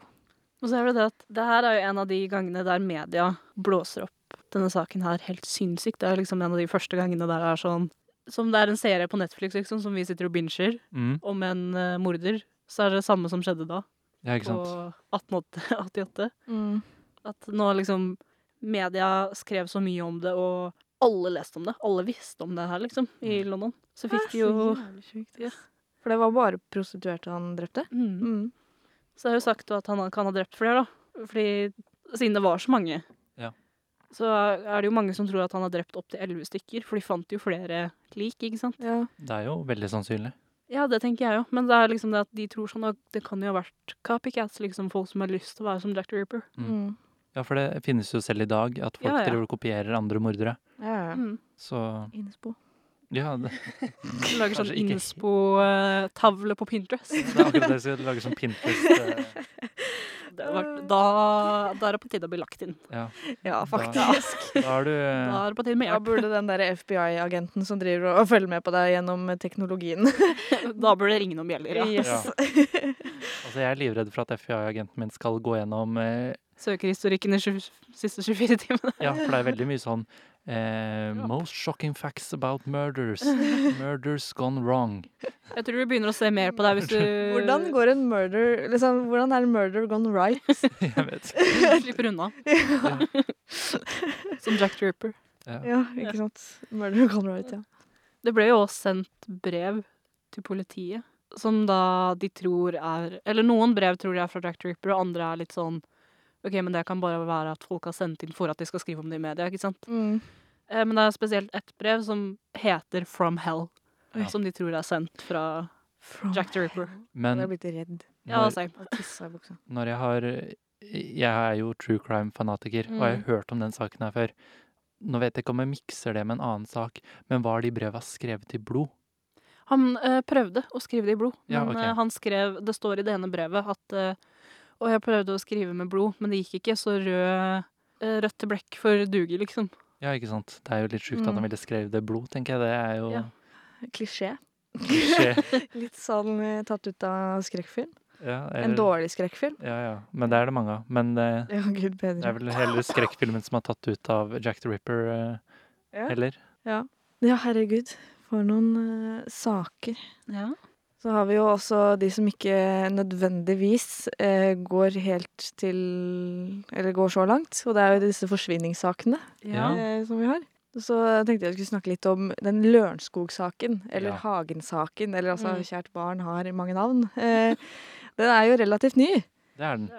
Og så er det det at det her er jo en av de gangene der media blåser opp denne saken her helt sinnssykt. Det er liksom en av de første gangene der det er sånn Som det er en serie på Netflix liksom, som vi sitter og binger
Mm.
om en eh, morder, så er det det samme som skjedde da,
ja, ikke
på
sant.
1888.
Mm.
At nå liksom Media skrev så mye om det, og alle leste om det. Alle visste om det her, liksom, i London.
Ah,
Så fikk de jo
Det er så jævlig sjukt, ass. For det var bare prostituerte han drepte?
mm.
Mm.
Så det er jo sagt at han kan ha drept flere, da. Fordi siden det var så mange,
Ja.
så er det jo mange som tror at han har drept opptil elleve stykker. For de fant jo flere lik, ikke sant.
Ja.
Det er jo veldig sannsynlig.
Ja, det tenker jeg jo. Men det er liksom det at de tror sånn at det kan jo ha vært copycats, liksom. Folk som har lyst til å være som Jack the Ripper.
Mm.
Mm.
Ja, for det finnes jo selv i dag at folk
Ja, ja.
driver og kopierer andre mordere.
Ja, ja.
Mm.
Så
Innspo.
ja, det,
De lager sånn
Kanskje ikke-
innspo-tavle på Pinterest.
det er akkurat det jeg skal lage som Pinterest. eh,
Det har vært, da, da er det på tide å bli lagt inn.
Ja.
Ja, faktisk.
Da er du eh,
Da er det på tide med
Da
hjelp.
burde den der FBI-agenten som driver og følger med på deg gjennom teknologien
Da burde det ringe noen bjeller, ja.
Yes.
Altså, jeg er livredd for at FBI-agenten min skal gå gjennom eh,
Søkehistorikken de tjue- siste 24 timene.
Ja, for det er veldig mye sånn eh, Most shocking facts about murders. Murders gone wrong.
Jeg tror du begynner å se mer på deg hvis du
Hvordan går en murder liksom, Hvordan er en murder gone right?
Jeg vet.
slipper unna.
Ja.
Som Jack the Ripper.
Ja.
Ja, ikke sant? Murder gone right, ja.
Det ble jo også sendt brev til politiet, som da de tror er Eller noen brev tror de er fra Jack the Ripper, og andre er litt sånn OK, men det kan bare være at folk har sendt inn for at de skal skrive om det i media, ikke sant?
Mm.
Eh, Men det er spesielt ett brev som heter From Hell,
Ja.
som de tror er sendt fra
From
Jack the Ripper.
Jeg
Men
er altså. blitt redd.
Ja,
når,
same.
Jeg tissa i buksa.
når jeg har Jeg er jo true crime-fanatiker, og
Mm.
jeg har hørt om den saken her før. Nå vet jeg ikke om jeg mikser det med en annen sak, men var de breva skrevet i blod?
Han eh, prøvde å skrive det i blod, men
Ja, ok.
eh, han skrev Det står i det ene brevet at eh, Og jeg prøvde å skrive med blod, men det gikk ikke, så rød eh, Rødt til blekk for duger, liksom.
Ja, ikke sant? Det er jo litt sjukt at han
Mm.
ville skrevet det blod, tenker jeg. Det er jo
Ja.
Klisjé.
klisjé.
Litt sånn eh, tatt ut av skrekkfilm.
Ja,
En
eller-
dårlig skrekkfilm.
Ja, ja. Men det er det mange av. Men eh,
Ja, gud
det er
bedre.
vel heller skrekkfilmen som er tatt ut av Jack the Ripper, eh,
Ja.
heller.
Ja, herregud. For noen eh, saker.
Ja.
Så har vi jo også de som ikke nødvendigvis eh, går helt til Eller går så langt. Og det er jo disse forsvinningssakene
Ja.
eh, som vi har. Så tenkte jeg jeg skulle snakke litt om den Lørenskog-saken. Eller
Ja.
Hagen-saken. Eller altså
Mm.
Kjært barn har mange navn. Eh, den er jo relativt ny.
Det er den.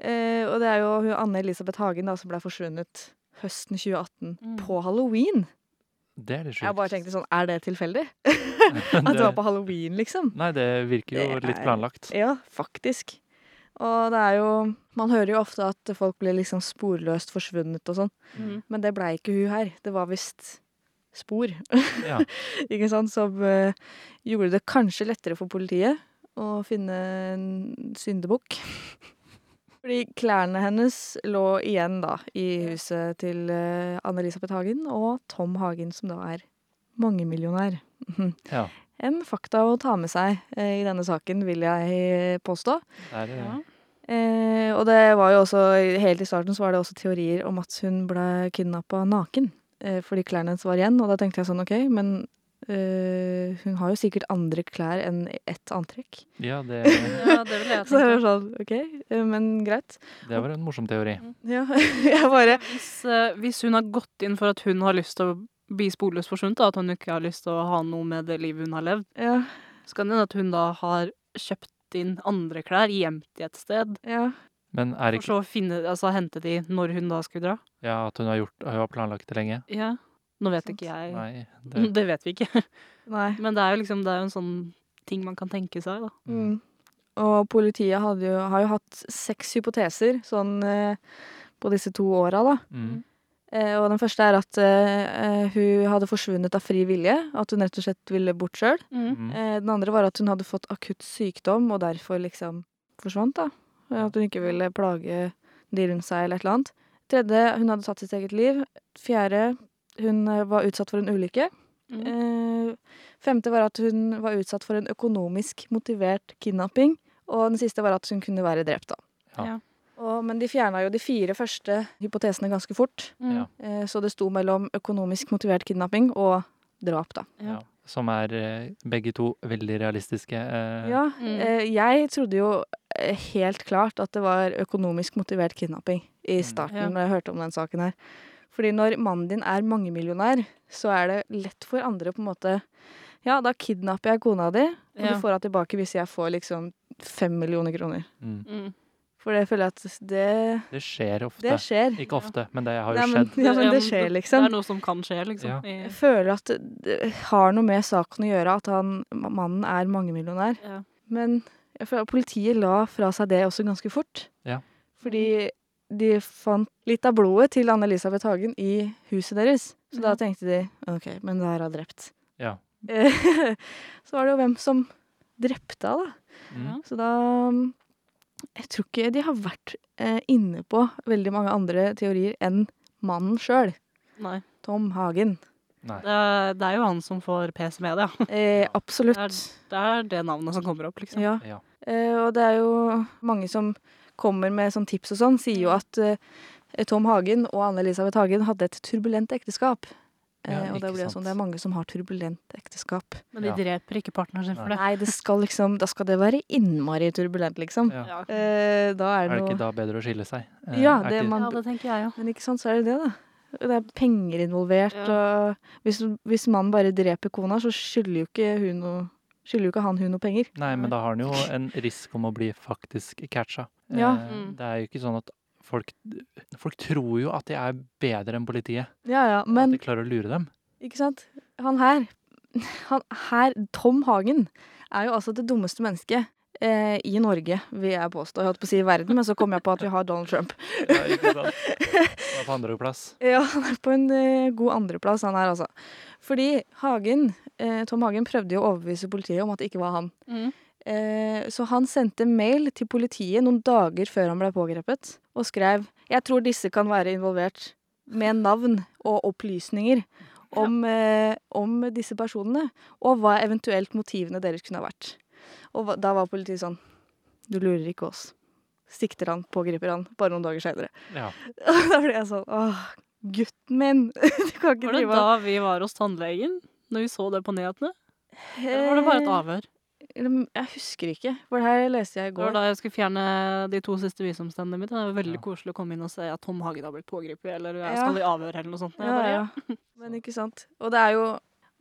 Eh, og det er jo hun Anne Elisabeth Hagen da, som ble forsvunnet høsten 2018
Mm.
på halloween.
Det er litt sjukt.
Jeg bare tenkte sånn, er det tilfeldig? At det var
det,
på halloween, liksom?
Nei, det virker jo
Det
litt
er-
planlagt.
Ja, faktisk. Og det er jo Man hører jo ofte at folk blir liksom sporløst forsvunnet og sånn,
Mm.
men det blei ikke hun her. Det var visst spor,
Ja.
ikke sant, som eh, gjorde det kanskje lettere for politiet å finne en syndebukk. Fordi klærne hennes lå igjen da i huset til eh, Anne-Elisabeth Hagen og Tom Hagen, som da er mangemillionær.
ja.
En fakta å ta med seg eh, i denne saken, vil jeg påstå.
Det er,
Ja.
Eh, og det var jo også, helt i starten så var det også teorier om at hun ble kidnappa naken. Eh, fordi klærne hennes var igjen, og da tenkte jeg sånn ok, men eh, hun har jo sikkert andre klær enn ett antrekk.
ja, det,
ja, det ville jeg
Så jeg
tenkt.
var sånn ok, eh, men greit.
det var en morsom teori.
Ja, jeg bare
Hvis, eh, hvis hun har gått inn for at hun har lyst til å bli sporløst forsvunnet, da, at hun ikke har lyst til å ha noe med det livet hun har levd,
Ja,
så kan det hende at hun da har kjøpt inn andre klær, gjemt i et sted,
ja.
Men er
for
ikke
så å finne, altså, hente de når hun da skulle dra.
ja, at hun har, gjort, hun har planlagt det lenge?
Ja. Nå vet
Sant.
ikke jeg.
Nei.
Det.
Det,
vet vi ikke.
Nei.
Men det er jo liksom, det er jo en sånn ting man kan tenke seg, da.
mm.
Mm. Og politiet hadde jo, har jo hatt seks hypoteser sånn eh, på disse to åra, da.
Mm.
Eh, og den første er at eh, eh, hun hadde forsvunnet av fri vilje. At hun rett og slett ville bort sjøl.
Mm.
Eh, den andre var at hun hadde fått akutt sykdom og derfor liksom forsvant, da. Eh, At hun ikke ville plage de rundt seg eller et eller annet. Tredje, hun hadde tatt sitt eget liv. Fjerde, hun eh, var utsatt for en ulykke.
Mm.
Eh, femte var at hun var utsatt for en økonomisk motivert kidnapping. Og den siste var at hun kunne være drept, da.
Ja.
Ja.
Og, men de fjerna jo de fire første hypotesene ganske fort.
Ja.
Eh, Så det sto mellom økonomisk motivert kidnapping og drap, da.
Ja. Som er eh, begge to veldig realistiske. eh,
Ja,
Mm.
eh, jeg trodde jo eh, helt klart at det var økonomisk motivert kidnapping i
Mm.
starten
Ja.
når jeg hørte om den saken her. Fordi når mannen din er mangemillionær, så er det lett for andre på en måte Ja, da kidnapper jeg kona di, og
Ja.
du får henne tilbake hvis jeg får liksom fem millioner kroner.
Mm.
Mm.
For det føler jeg at det,
Det skjer ofte.
det skjer.
Ikke ofte, men det har jo
Nei, men,
skjedd.
ja, men det
Ja,
skjer,
men
liksom.
Det er noe som kan skje, liksom.
Ja.
I-
Jeg føler at det- det har noe med saken å gjøre at han, mannen er mangemillionær.
Ja.
Men jeg føler at politiet la fra seg det også ganske fort.
Ja.
Fordi de fant litt av blodet til Anne-Elisabeth Hagen i huset deres. Så da
Ja.
tenkte de OK, men det her har drept.
Ja.
Eh, Så var det jo hvem som drepte henne, da.
Mm.
Så da mm, Jeg tror ikke de har vært eh, inne på veldig mange andre teorier enn mannen sjøl.
Nei.
Tom Hagen.
Nei.
Det er, det er jo han som får PC med, det.
Eh,
Ja.
absolutt.
Det er det navnet som kommer opp, liksom.
Ja.
Ja.
Eh, og det er jo mange som kommer med sånn tips og sånn, sier jo at eh, Tom Hagen og Anne-Elisabeth Hagen hadde et turbulent ekteskap. Eh,
Ja,
og det
ikke
blir jo
sant.
sånn, det er mange som har turbulent ekteskap.
Men de
Ja.
dreper ikke partneren sin for det.
Nei, det skal liksom, da skal det være innmari turbulent, liksom.
Ja.
Ja.
Eh, da er
Er
det
det
noe
ikke da bedre å skille seg? Eh,
Ja,
er
det
ikke-
man-
ja, det tenker jeg jo.
Men ikke sant, så er det det, da. Det er penger involvert,
Ja.
og hvis, hvis mannen bare dreper kona, så skylder jo ikke hun noe Skylder jo ikke han hun noe penger.
Nei, men da har han jo en risk om å bli faktisk catcha. Eh,
Ja.
Mm.
Det er jo ikke sånn at folk Folk tror jo at de er bedre enn politiet.
Ja ja, men
at de klarer å lure dem.
Ikke sant? Han her, han her, Tom Hagen, er jo altså det dummeste mennesket eh, i Norge, vil jeg påstå. Jeg holdt på å si i verden, men så kom jeg på at vi har Donald Trump.
Ja, ikke sant? Det var på andreplass.
Ja, han er på en eh, god andreplass, han her, altså. Fordi Hagen, eh, Tom Hagen prøvde jo å overbevise politiet om at det ikke var han.
Mm.
Eh, så han sendte mail til politiet noen dager før han ble pågrepet, og skrev «Jeg tror disse kan være involvert. med navn og opplysninger om, eh, om disse personene, og hva eventuelt motivene deres kunne ha vært. Og hva- da var politiet sånn Du lurer ikke oss. Sikter han, pågriper han, bare noen dager seinere.
Ja.
Og da ble jeg sånn Åh, gutten min! Du kan ikke
Var det
drive
da vi var hos tannlegen? Når vi så det på nyhetene? Eller var det
Eh,
bare et avhør?
Eller, Jeg husker ikke. For det her leste jeg i
Det var
går.
da jeg skulle fjerne de to siste visumstendene mine. Det var veldig
Ja.
koselig å komme inn og se at Tom Hagen har blitt pågrepet, eller
Ja.
jeg skal i avhør, eller noe sånt. Jeg bare, ja.
Men ikke sant. Og det er jo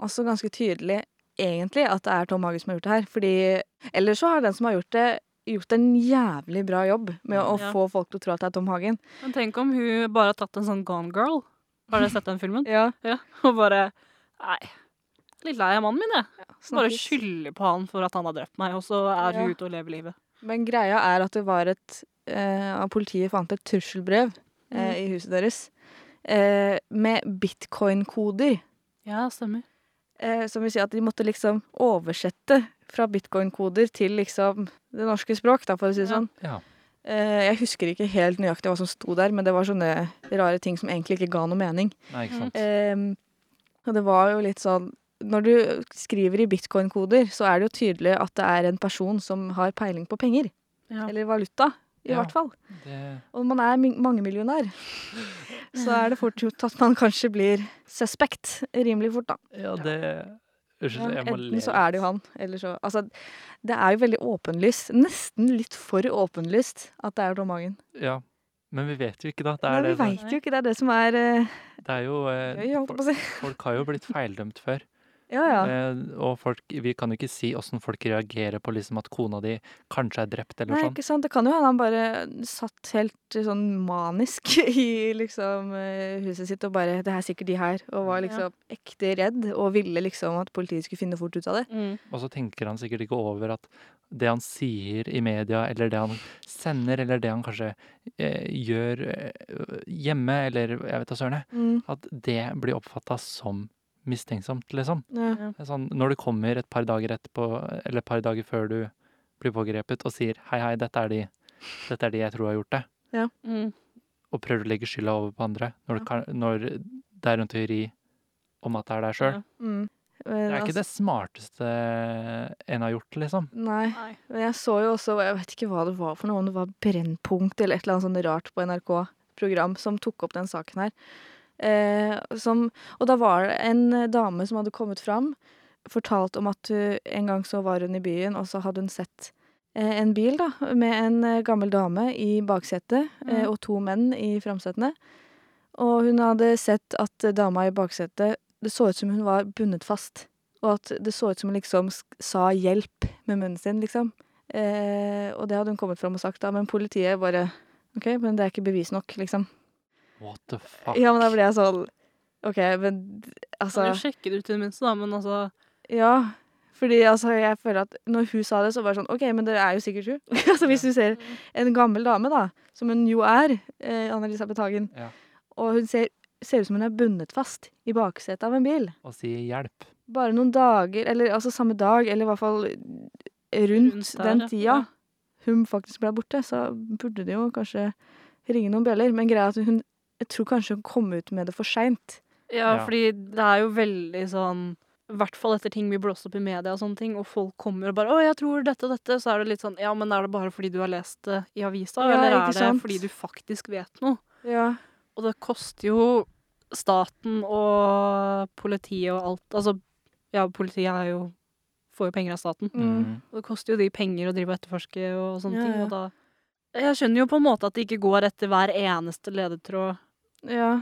også ganske tydelig egentlig at det er Tom Hage som har gjort det her. Fordi ellers så har den som har gjort det, gjort en jævlig bra jobb med å
Ja.
få folk til å tro at det er Tom Hagen.
Men tenk om hun bare har tatt en sånn Gone Girl. Har dere sett den filmen?
Ja,
Ja. Og bare Nei. Litt lei av mannen min, jeg. Bare
snakkes.
skylder på han for at han har drept meg, og så er hun
Ja.
ute og lever livet.
Men greia er at det var et eh, at Politiet fant et trusselbrev
Mm.
eh, i huset deres eh, med bitcoin-koder.
Ja, stemmer.
Eh, som vil si at de måtte liksom oversette fra bitcoin-koder til liksom det norske språk, da, for å si det
Ja.
sånn.
Ja.
Eh, jeg husker ikke helt nøyaktig hva som sto der, men det var sånne rare ting som egentlig ikke ga noe mening.
Nei, ikke sant.
Eh, og det var jo litt sånn Når du skriver i bitcoin-koder, så er det jo tydelig at det er en person som har peiling på penger.
Ja.
Eller valuta, i
Ja.
hvert fall.
Det,
Og når man er mi- mangemillionær, så er det fort gjort at man kanskje blir suspect rimelig fort, da.
ja, det Unnskyld, jeg må le.
Enten så
litt.
er det jo han, eller så Altså, det er jo veldig åpenlyst. Nesten litt for åpenlyst at det er Tom Hagen.
Ja. Men vi vet jo ikke, da. Det
Nei,
er,
vi
det,
veit jo ikke. Det er det som er eh,
det er jo eh,
gøy, holdt jeg
folk,
på å si.
folk har jo blitt feildømt før.
Ja, ja.
Eh, og folk, vi kan jo ikke si åssen folk reagerer på liksom at kona di kanskje er drept, eller
Nei,
sånn.
ikke sant. Det kan jo hende han bare satt helt eh, sånn manisk i liksom eh, huset sitt og bare Det er sikkert de her. Og var
Ja.
liksom ekte redd og ville liksom at politiet skulle finne fort ut av det.
Mm.
Og så tenker han sikkert ikke over at det han sier i media, eller det han sender, eller det han kanskje eh, gjør eh, hjemme, eller jeg vet da søren, jeg,
Mm,
at det blir oppfatta som mistenksomt, liksom.
Ja.
Det er Sånn, når du kommer et par dager etterpå, eller et par dager før du blir pågrepet, og sier 'hei, hei, dette er de, dette er de jeg tror har gjort det',
Mm.
og prøver å legge skylda over på andre, når,
Ja.
du kan, når det er en teori om at det er deg sjøl.
Ja.
Mm.
Det er ikke det smarteste en har gjort, liksom.
Nei.
Nei.
Men jeg så jo også, jeg vet ikke hva det var for noe, om det var Brennpunkt eller et eller annet sånn rart på NRK-program som tok opp den saken her. Eh, som, og da var det en dame som hadde kommet fram, fortalt om at hun, en gang så var hun i byen, og så hadde hun sett eh, en bil da, med en eh, gammel dame i baksetet eh,
Mhm.
og to menn i framsetene. Og hun hadde sett at eh, dama i baksetet, det så ut som hun var bundet fast. Og at det så ut som hun liksom sk- sa 'hjelp' med munnen sin, liksom. Eh, og det hadde hun kommet fram og sagt, da, men politiet bare OK, men det er ikke bevis nok, liksom.
What the fuck?
Ja, men da ble jeg sånn OK, men d-
Kan
altså
jo sjekke det ut i det minste, da, men altså
Ja. Fordi altså, jeg føler at når hun sa det, så var det sånn OK, men det er jo sikkert hun. altså hvis du ser en gammel dame, da, som hun jo er, eh, Anne-Elisabeth Hagen,
Ja.
og hun ser, ser ut som hun er bundet fast i baksetet av en bil.
Og sier 'hjelp'.
bare noen dager, eller altså samme dag, eller i hvert fall rundt,
der,
den
ja.
tida
Ja.
hun faktisk ble borte, så burde det jo kanskje ringe noen bjeller. Men greia er at hun jeg tror kanskje hun kom ut med det for seint.
Ja,
Ja.
fordi det er jo veldig sånn I hvert fall etter ting blir blåst opp i media, og sånne ting, og folk kommer og bare 'Å, jeg tror dette og dette', så er det litt sånn Ja, men er det bare fordi du har lest det i avisa,
Ja,
eller
ikke
er det
sant?
fordi du faktisk vet noe?
Ja.
Og det koster jo staten og politiet og alt Altså, ja, politiet er jo Får jo penger av staten.
Mm.
Mm.
Og det koster jo de penger å drive og etterforske og sånne
Ja,
ting,
ja.
og da Jeg skjønner jo på en måte at de ikke går etter hver eneste ledetråd.
ja.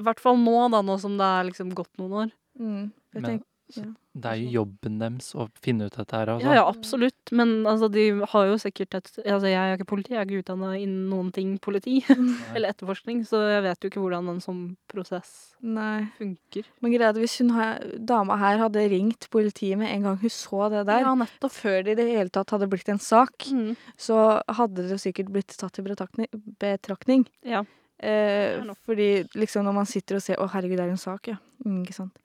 I hvert fall nå, da, nå som det er liksom gått noen år.
Mm. Jeg
Men
tenk-
det er jo jobben deres å finne ut dette her. Altså.
Ja, ja,
sånn.
absolutt. Men altså, de har jo sikkert et altså, Jeg er ikke politi, jeg er ikke utdanna innen noen ting politi
Nei.
eller etterforskning, så jeg vet jo ikke hvordan en sånn prosess
Nei.
funker.
Men greia er at hvis hun her, dama her hadde ringt politiet med en gang hun så det der,
Ja, nettopp.
før det i det hele tatt hadde blitt en sak,
Mm.
så hadde det sikkert blitt tatt i betraktning. betraktning.
Ja.
Eh,
er nok.
fordi liksom når man sitter og ser 'Å, herregud, det er en sak', ja. Mm, ikke sant.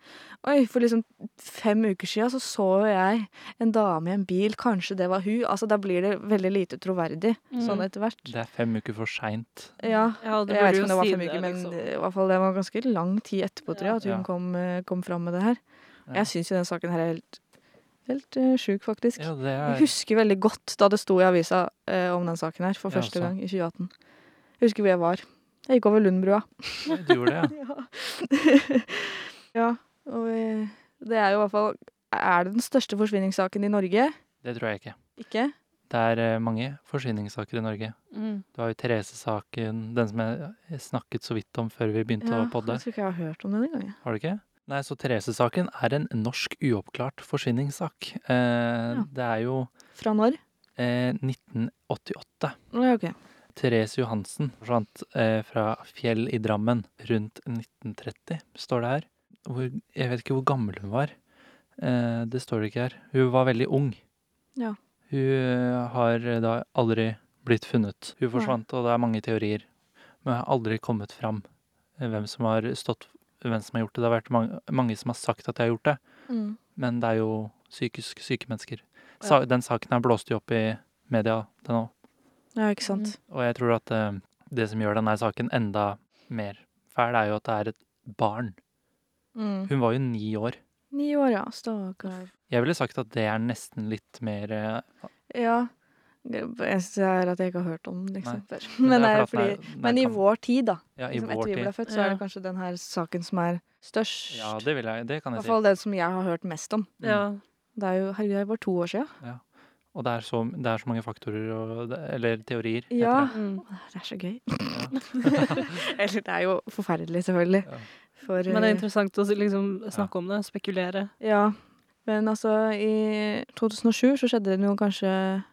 Oi, for liksom fem uker siden så, så jeg en dame i en bil, kanskje det var hun. Altså, da blir det veldig lite troverdig
Mm.
sånn etter hvert.
Det er fem uker for seint.
Ja.
Ja, det
Jeg
burde
vet ikke
jo
om det var
si
fem uker, men
liksom.
i hvert fall det var ganske lang tid etterpå, tror jeg, at hun
Ja.
kom, eh, kom fram med det her.
Ja.
Jeg syns jo den saken her er helt, helt eh, sjuk, faktisk.
Ja, det
Jeg
er
husker veldig godt da det sto i avisa eh, om den saken her for
Ja,
første
altså.
gang i 2018. Jeg husker hvor jeg var. Jeg gikk over Lundbrua.
Du gjorde det, ja.
Ja. ja, og eh, det er jo i hvert fall Er det den største forsvinningssaken i Norge?
Det tror jeg ikke.
Ikke?
Det er eh, mange forsyningssaker i Norge.
Mm.
Du har jo Therese-saken, den som jeg snakket så vidt om før vi begynte å podde.
jeg tror ikke jeg har hørt om den engang. jeg.
Har du ikke? Nei, så Therese-saken er en norsk uoppklart forsyningssak. Eh, Det er jo
Fra når?
eh, 1988.
Å, ja, ok.
Therese Johansen forsvant eh, fra Fjell i Drammen rundt 1930, står det her. Hvor, jeg vet ikke hvor gammel hun var. Eh, det står det ikke her. Hun var veldig ung.
Ja.
Hun eh, har eh, da aldri blitt funnet. Hun forsvant, og det er mange teorier. Men det har aldri kommet fram eh, hvem som har stått hvem som har gjort det. Det har vært mange, mange som har sagt at de har gjort det,
Mm.
men det er jo psykisk syke mennesker. Sa, Den saken her blåste jo opp i media, den òg.
Ja, ikke sant.
Og jeg tror at eh, det som gjør denne saken enda mer fæl, er jo at det er et barn.
Mm.
Hun var jo ni år.
Ni år, ja. Stakkar.
Jeg ville sagt at det er nesten litt mer eh,
Ja. Jeg ser at jeg ikke har hørt om den, liksom. før.
men
Men,
det
det
er
er
fordi at den er-
fordi,
den
men i
kan-
vår tid, da.
Ja, i
Liksom
vår
etter vi ble
tid.
født, så er det
Ja.
kanskje den her saken som er størst.
Ja, det, vil jeg, det
I
kan jeg
hvert
si.
fall den som jeg har hørt mest om.
Ja.
Det er jo herregud, det er bare to år siden.
Og det er så, det er så mange faktorer og det- Eller teorier. heter
Ja.
Mm.
Det er så gøy. Eller det er jo forferdelig, selvfølgelig.
Ja.
For,
Men det er
eh,
interessant å s- liksom snakke om det, spekulere.
Ja. Men altså, i 2007 så skjedde det noe kanskje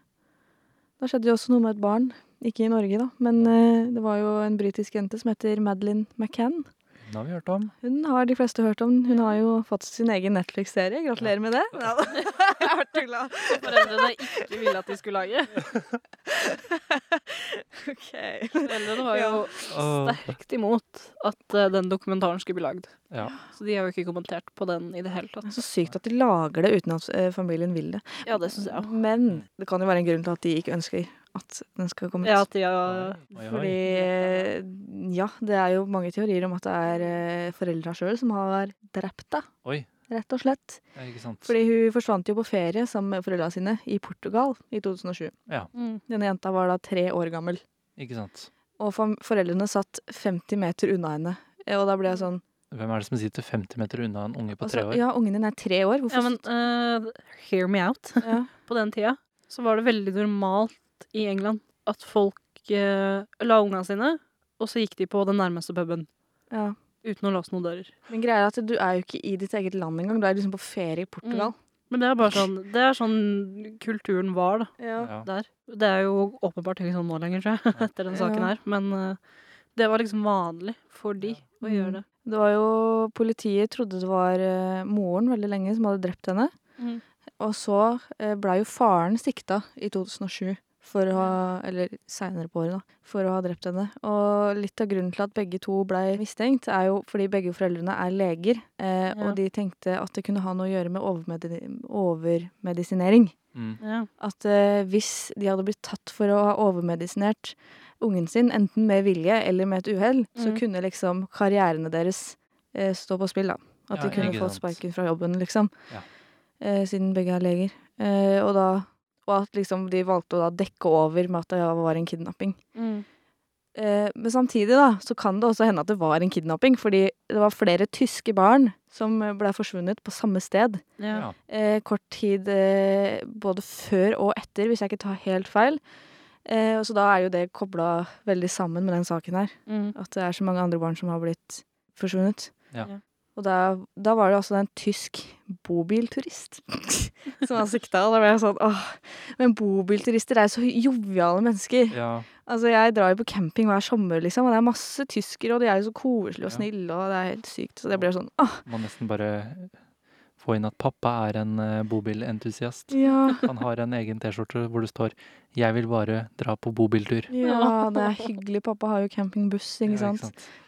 Da skjedde det også noe med et barn. Ikke i Norge, da, men eh, det var jo en britisk jente som heter Madeleine McCann.
Det Den har vi hørt om.
Hun har de fleste hørt om. Hun har jo fått sin egen Netflix-serie. Gratulerer med det. Ja, da. Jeg ble så glad.
Foreldrene ikke ville at de skulle lage.
Ok.
Foreldrene var jo sterkt imot at eh, den dokumentaren skulle bli lagd.
Ja.
Så de har jo ikke kommentert på den i det hele tatt.
Så sykt at de lager det uten at eh, familien vil det.
Ja, det syns jeg òg.
Men det kan jo være en grunn til at de ikke ønsker at den skal komme ut.
Ja, at de har
Oi, oi, oi.
Fordi eh, ja, det er jo mange teorier om at det er eh, foreldra sjøl som har drept henne.
Oi.
Rett og slett.
Ja, ikke sant.
Fordi hun forsvant jo på ferie sammen med foreldra sine i Portugal i 2007.
mm.
Denne jenta var da tre år gammel.
Ikke sant.
Og fam- foreldrene satt 50 meter unna henne. Eh, Og da ble jeg sånn
Hvem er det som sitter 50 meter unna en unge på tre
altså,
år?
Ja, ungen din er tre år. Hvorfor
Ja, men eh, hear me out.
ja.
På den tida så var det veldig normalt i England at folk eh, la unga sine, og så gikk de på den nærmeste puben
ja.
uten å låse noen dører.
Men greia er at du er jo ikke i ditt eget land engang. Du er liksom på ferie i Portugal.
Men det er bare sånn Det er sånn kulturen var, da.
Ja.
Ja.
Der. Det er jo åpenbart ikke sånn nå lenger, tror jeg, etter den saken
Ja.
her. Men eh, det var liksom vanlig for de å
Mm.
gjøre det.
Det var jo Politiet trodde det var eh, moren veldig lenge som hadde drept henne.
Mm.
Og så eh, blei jo faren sikta i 2007. For å ha, eller seinere på året, da. For å ha drept henne. Og litt av grunnen til at begge to blei mistenkt, er jo fordi begge foreldrene er leger. Eh,
Ja.
Og de tenkte at det kunne ha noe å gjøre med overmedi overmedisinering.
Mm.
Ja.
At eh, hvis de hadde blitt tatt for å ha overmedisinert ungen sin, enten med vilje eller med et uhell, så
Mm.
kunne liksom karrierene deres eh, stå på spill, da. At
Ja,
de kunne
ikke
fått
sant.
sparken fra jobben, liksom.
Ja.
Eh, siden begge er leger. Eh, og da Og at liksom de valgte å da dekke over med at det var en kidnapping.
Mm.
Eh, men samtidig da, så kan det også hende at det var en kidnapping, fordi det var flere tyske barn som eh, ble forsvunnet på samme sted
Ja.
Ja.
eh, kort tid eh, både før og etter, hvis jeg ikke tar helt feil. Eh, og så da er jo det kobla veldig sammen med den saken her.
Mm.
At det er så mange andre barn som har blitt forsvunnet.
Ja.
Ja.
Og da, da var det altså en tysk bobilturist som var sikta. Og da ble jeg sånn åh. Men bobilturister er jo så joviale mennesker.
ja.
Altså Jeg drar jo på camping hver sommer, liksom, og det er masse tyskere, og de er jo så koselige og
Ja.
snille, og det er helt sykt. Så det blir sånn åh.
Må nesten bare få inn at pappa er en eh, bobilentusiast.
Ja,
Han har en egen T-skjorte hvor det står 'Jeg vil bare dra på bobiltur'.
ja, det er hyggelig. Pappa har jo campingbuss,
Ja,
ikke sant.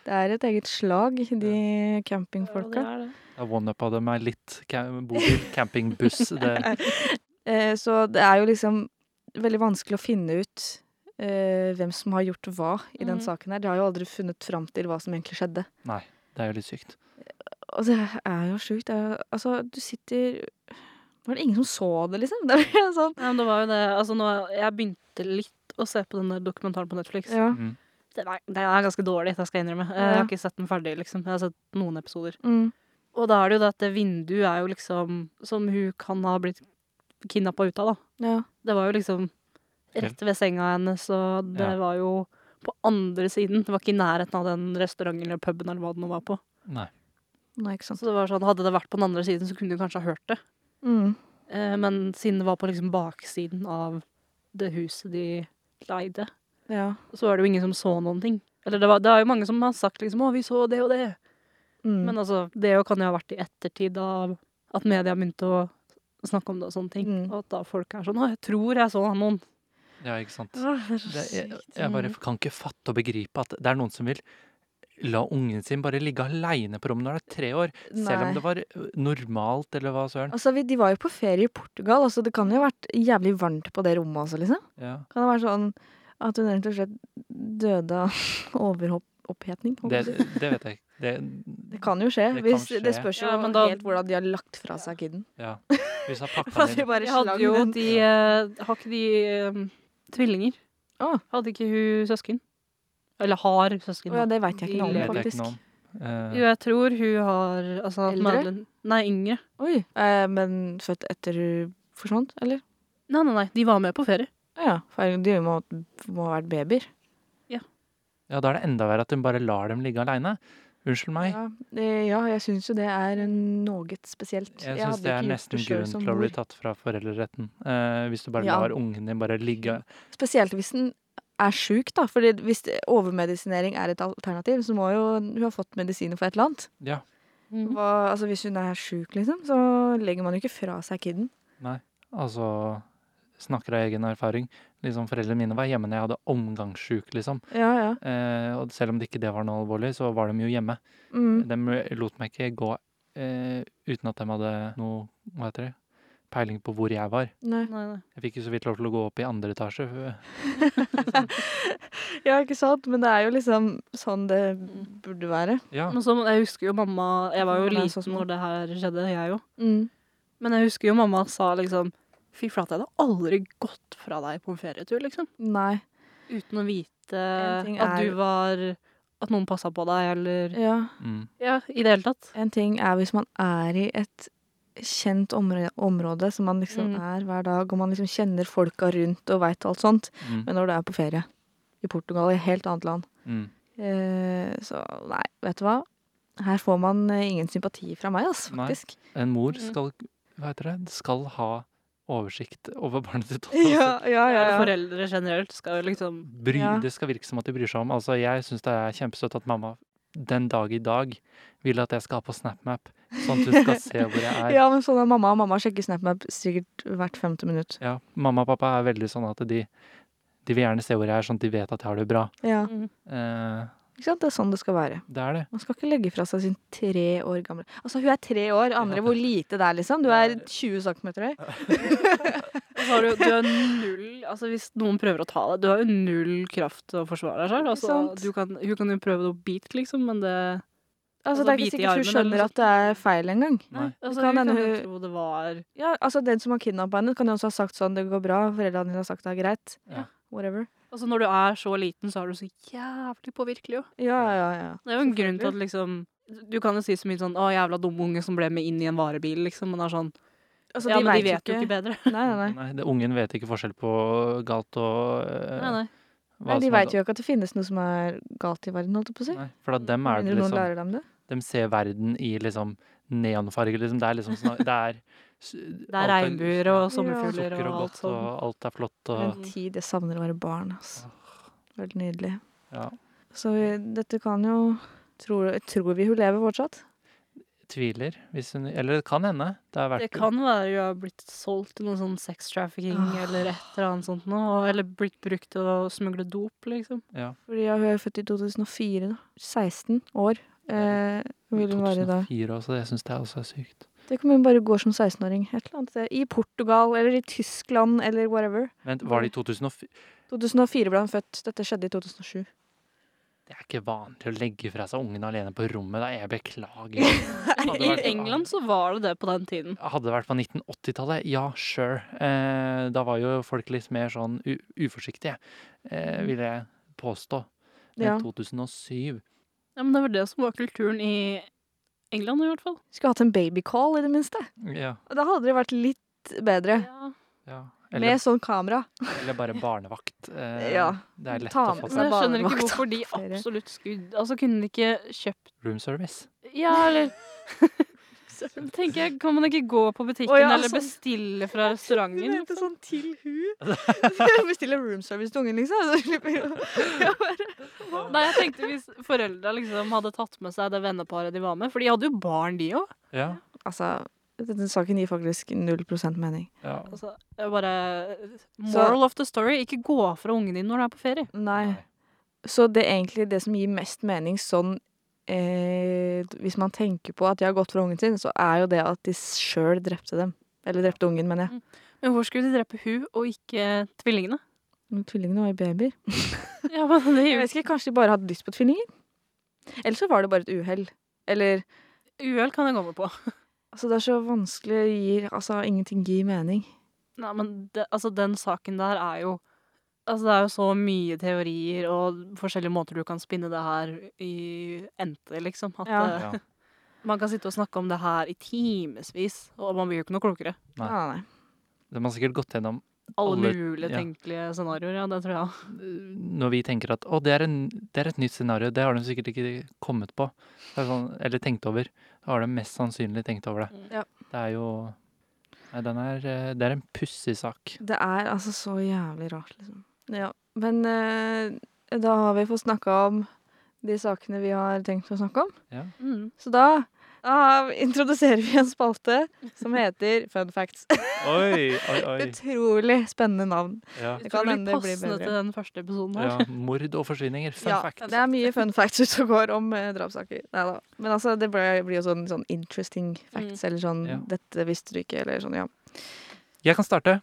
Det er et eget slag, de
Ja,
campingfolka.
det er det.
Da one-uppa de meg litt. Ca- Bobil, campingbuss. Det,
Eh, Så det er jo liksom veldig vanskelig å finne ut eh, hvem som har gjort hva i den
Mhm.
saken her. De har jo aldri funnet fram til hva som egentlig skjedde.
det er jo litt sykt.
Og det er jo sjukt. Det er jo- Altså, du sitter Var det ingen som så det, liksom? Det er sånn.
Nei, men det var jo det. Altså, nå, jeg begynte litt å se på den der dokumentaren på Netflix.
Ja.
Mm.
Den, er, den er ganske dårlig, det skal jeg innrømme. Eh, Jeg
Ja.
har ikke sett den ferdig, liksom. Jeg har sett noen episoder.
Mm.
Og da er det jo det at det vinduet er jo liksom Som hun kan ha blitt kidnappa ut av, da.
ja.
Det var jo liksom rett ved senga hennes, og det
Ja.
var jo på andre siden. Det var ikke i nærheten av den restauranten eller puben eller hva det nå var på.
Nei.
Nei, ikke sant.
Så det var sånn, Hadde det vært på den andre siden, så kunne du kanskje ha hørt det.
Mm.
Eh, men siden det var på liksom baksiden av det huset de leide,
Ja.
så var det jo ingen som så noen ting. Eller det, var, det er jo mange som har sagt liksom 'Å, vi så det og det'.
Mm.
Men altså, det jo kan jo ha vært i ettertid av at media begynte å snakke om det og sånne ting.
Mm.
Og at da folk er sånn 'Å, jeg tror jeg så noen'.
Ja, ikke sant.
Åh, det er så
Det, jeg,
sykt.
jeg bare kan ikke fatte og begripe at det er noen som vil la ungen sin bare ligge aleine på rommet når det er tre år. Selv
Mm. Nei.
om det var ø, normalt, eller hva søren.
Altså, vi, De var jo på ferie i Portugal. altså Det kan jo ha vært jævlig varmt på det rommet også. liksom.
Ja.
Kan det være sånn at hun rett og slett døde av overopphetning? holdt
Det,
jeg på å si?
det vet jeg ikke. Det,
det kan jo skje.
det kan
hvis, Det
skje.
spørs jo
Ja, men da-
helt hvordan de har lagt fra seg kiden.
ja. Hvis han pakka den inn
bare
Jeg hadde jo de eh, Har ikke de eh, tvillinger?
Å.
Hadde ikke hun søsken? Eller har søsken?
Ah. Å ja, det veit jeg ikke
det
noe om,
vet jeg ikke
faktisk.
noe om. Eh,
Jo, jeg tror hun har altså, at
Eldre?
Madeleine- Nei, yngre.
Oi, eh, Men født etter hun forsvant, eller?
Nei, nei, nei, de var med på ferie.
Å Ja, for de må, må ha vært babyer.
ja, da er det enda verre at hun bare lar dem ligge aleine. Unnskyld meg.
Ja, eh, ja jeg syns jo det er noe spesielt.
Jeg syns
hadde
det er
ikke gjort
nesten
selv
grunn
som
til å
mor.
bli tatt fra foreldreretten. eh, hvis du bare
Ja.
lar ungen din bare ligge
Spesielt hvis den er sjuk, da. Fordi hvis det- overmedisinering er et alternativ, så må jo hun ha fått medisiner for et eller annet.
Ja.
Hva, altså Hvis hun er sjuk, liksom, så legger man jo ikke fra seg kiden.
Altså snakker av egen erfaring. Liksom Foreldrene mine var hjemme når jeg hadde omgangssjuk, liksom.
Ja, ja.
Eh, og selv om det ikke det var noe alvorlig, så var de jo hjemme.
Mm.
De lot meg ikke gå eh, uten at de hadde noe hva heter det, peiling på hvor jeg var.
Nei.
Nei, nei.
Jeg fikk jo så vidt lov til å gå opp i andre etasje.
Ja, ikke sant? Men det er jo liksom sånn det burde være.
Ja,
Men så, jeg husker jo mamma Jeg var jo
Mamma er sånn. så
liten
små.
når det her skjedde, jeg jo.
Mm.
Men jeg husker jo mamma sa liksom Fy flate, jeg hadde aldri gått fra deg på en ferietur, liksom.
Nei.
Uten å vite
ting
at
er-
du var At noen passa på deg, eller
Ja.
mm,
Ja, i det hele tatt.
En ting er hvis man er i et kjent område, område som man liksom
Mm.
er hver dag, og man liksom kjenner folka rundt og veit alt sånt.
mm,
Men når du er på ferie i Portugal, i et helt annet land
mm.
Eh, Så nei, vet du hva? Her får man eh, ingen sympati fra meg, altså,
Nei.
faktisk.
En mor
Mm.
skal, hva heter det, skal ha oversikt over barnet sitt.
Ja, ja, ja. ja.
Foreldre generelt skal jo liksom
Bry,
Ja.
Det skal virke som at de bryr seg om. Altså, jeg syns det er kjempesøtt at mamma den dag i dag vil at jeg skal ha på SnapMap, sånn at hun skal se hvor jeg er.
Ja, men sånn er mamma. Mamma sjekker SnapMap sikkert hvert femte minutt.
Ja, mamma og pappa er veldig sånn at de, de vil gjerne se hvor jeg er, sånn at de vet at jeg har det bra.
Ja,
mm.
Eh,
ikke sant? Det er sånn det skal være.
det er det.
Man skal ikke legge fra seg sin tre år gamle Altså, hun er tre år. Aner dere hvor lite det er, liksom? Du er 20 centimeter høy. Altså,
Og så har du, du har null Altså Hvis noen prøver å ta deg, du har jo null kraft til å forsvare deg sjøl. Altså,
Sant.
du kan- hun kan jo prøve å bite, liksom, men det
Altså,
Altså,
det er ikke
bite i
sikkert hun
armen eller
skjønner at det er feil engang.
Nei.
altså,
kan
Hun kan
hende
jo
hun-
tro det var
Ja, altså, den som har kidnappa henne, kan jo også ha sagt sånn 'det går bra', foreldrene dine har sagt det er greit.
Ja.
Whatever.
Altså Når du er så liten, så er du så jævlig påvirkelig, jo.
Ja, ja, ja.
Det er jo en grunn til at liksom Du kan jo si så mye sånn 'Å, jævla dumme unge som ble med inn i en varebil', liksom. Men det er sånn
Altså,
Ja, men de vet jo ikke bedre.
Nei, nei, nei.
det, ungen vet ikke forskjell på galt og eh,
Nei, nei.
Nei, de
som er
veit jo ikke at det finnes noe som er galt i verden, holdt jeg på å si.
galt. Nei, for at dem
Med
er det
mindre noen
liksom
lærer dem det.
De ser verden i liksom neonfarger, liksom. Det er liksom sånn Det er,
Det er regnbuer og sommerfugler
Sukker og
og alt
sånn.
godt, og
sånt.
alt er flott og
En tid jeg savner å være barn, altså. Veldig nydelig.
Ja.
Så vi, dette kan jo tror, tror vi hun lever fortsatt?
tviler. Hvis hun, eller det kan hende. Det har vært
Det kan være hun har blitt solgt til noe sånn sex trafficking
Ah.
eller et eller annet sånt noe. Eller blitt brukt til å smugle dop, liksom.
Fordi ja, hun er født i 2004, da. 16 år eh, vil hun være da.
2004 også, jeg syns det også er sykt.
Det kan hun bare gå som 16-åring. Et eller annet sted. I Portugal eller i Tyskland eller whatever.
Vent, var det i 2004?
2004 ble han født. Dette skjedde i 2007.
Det er ikke vanlig å legge fra seg ungen alene på rommet. Da. Jeg beklager. Hadde
I
vært-
England så var det det på den tiden.
Hadde det vært på 1980-tallet, ja, sure. Eh, da var jo folk litt mer sånn u uforsiktige, eh, vil jeg påstå. Men
Ja.
2007
Ja, men det var det som var kulturen i England, i hvert fall.
Skulle hatt en babycall, i det minste.
Ja.
Og Da hadde det vært litt bedre.
Ja.
ja.
Med
Eller,
sånn kamera.
eller bare barnevakt. Eh,
Ja.
Det er lett
Ta
å
med
få
seg
seg
Men jeg skjønner ikke
barnevakt
hvorfor de
på ferie.
absolutt skulle Altså, kunne de ikke kjøpt
room service.
Ja, eller Tenker jeg, Kan man ikke gå på butikken
Å, ja,
eller
sånn.
bestille fra restauranten?
Du mente
Liksom?
sånn til hu. Bestille room service til ungen, liksom. Så slipper hun å
Nei, jeg tenkte hvis foreldra liksom hadde tatt med seg det venneparet de var med. For de hadde jo barn, de òg.
Ja.
Altså, denne saken gir faktisk 0 mening.
ja.
Altså, det er bare Moral of the story ikke gå fra ungen din når du er på ferie.
Nei. Så det er egentlig det som gir mest mening sånn eh, Hvis man tenker på at de har gått fra ungen sin, så er jo det at de sjøl drepte dem. Eller drepte ungen, mener jeg.
Men hvorfor skulle de drepe hun og ikke tvillingene?
Men Tvillingene var jo babyer.
Ja, men det
Jeg
er
vet ikke, Kanskje de bare hadde lyst på tvillinger? Eller så var det bare et uhell. Eller
jo Uhell kan jeg gå med på.
Altså, det er så vanskelig det gir, Altså, ingenting gir mening.
Nei, men det, altså, den saken der er jo Altså, det er jo så mye teorier og forskjellige måter du kan spinne det her i ente, liksom. At
Ja.
eh,
Ja.
man kan sitte og snakke om det her i timevis, og man blir jo ikke noe klokere.
Nei.
Ah, nei.
De har sikkert gått gjennom
Alle
Alle-
mulige
ja.
tenkelige scenarioer, ja, det tror jeg.
eh, Når vi tenker at å, det er, en, det er et nytt scenario, det har de sikkert ikke kommet på. Det er sånn, eller tenkt over. Da har de mest sannsynlig tenkt over det.
Ja.
Det er jo Nei, den er eh, Det er en pussig sak.
Det er altså så jævlig rart, liksom. Ja, men eh, da har vi fått snakka om de sakene vi har tenkt å snakke om.
Mm.
Så da ah, introduserer vi en spalte som heter Fun facts.
Oi, oi, oi.
Utrolig spennende navn.
Ja.
Det
Det
kan
kan
hende det blir
passende
bedre.
til den første episoden her.
ja. Mord og forsvinninger. Fun
ja,
fact.
Det er mye fun facts ute og går om eh, drapssaker. Neida. Men altså, det ble- blir jo sånn, sånn interesting facts, eller sånn
Ja.
'dette visste du ikke', eller sånn, ja.
Jeg kan starte.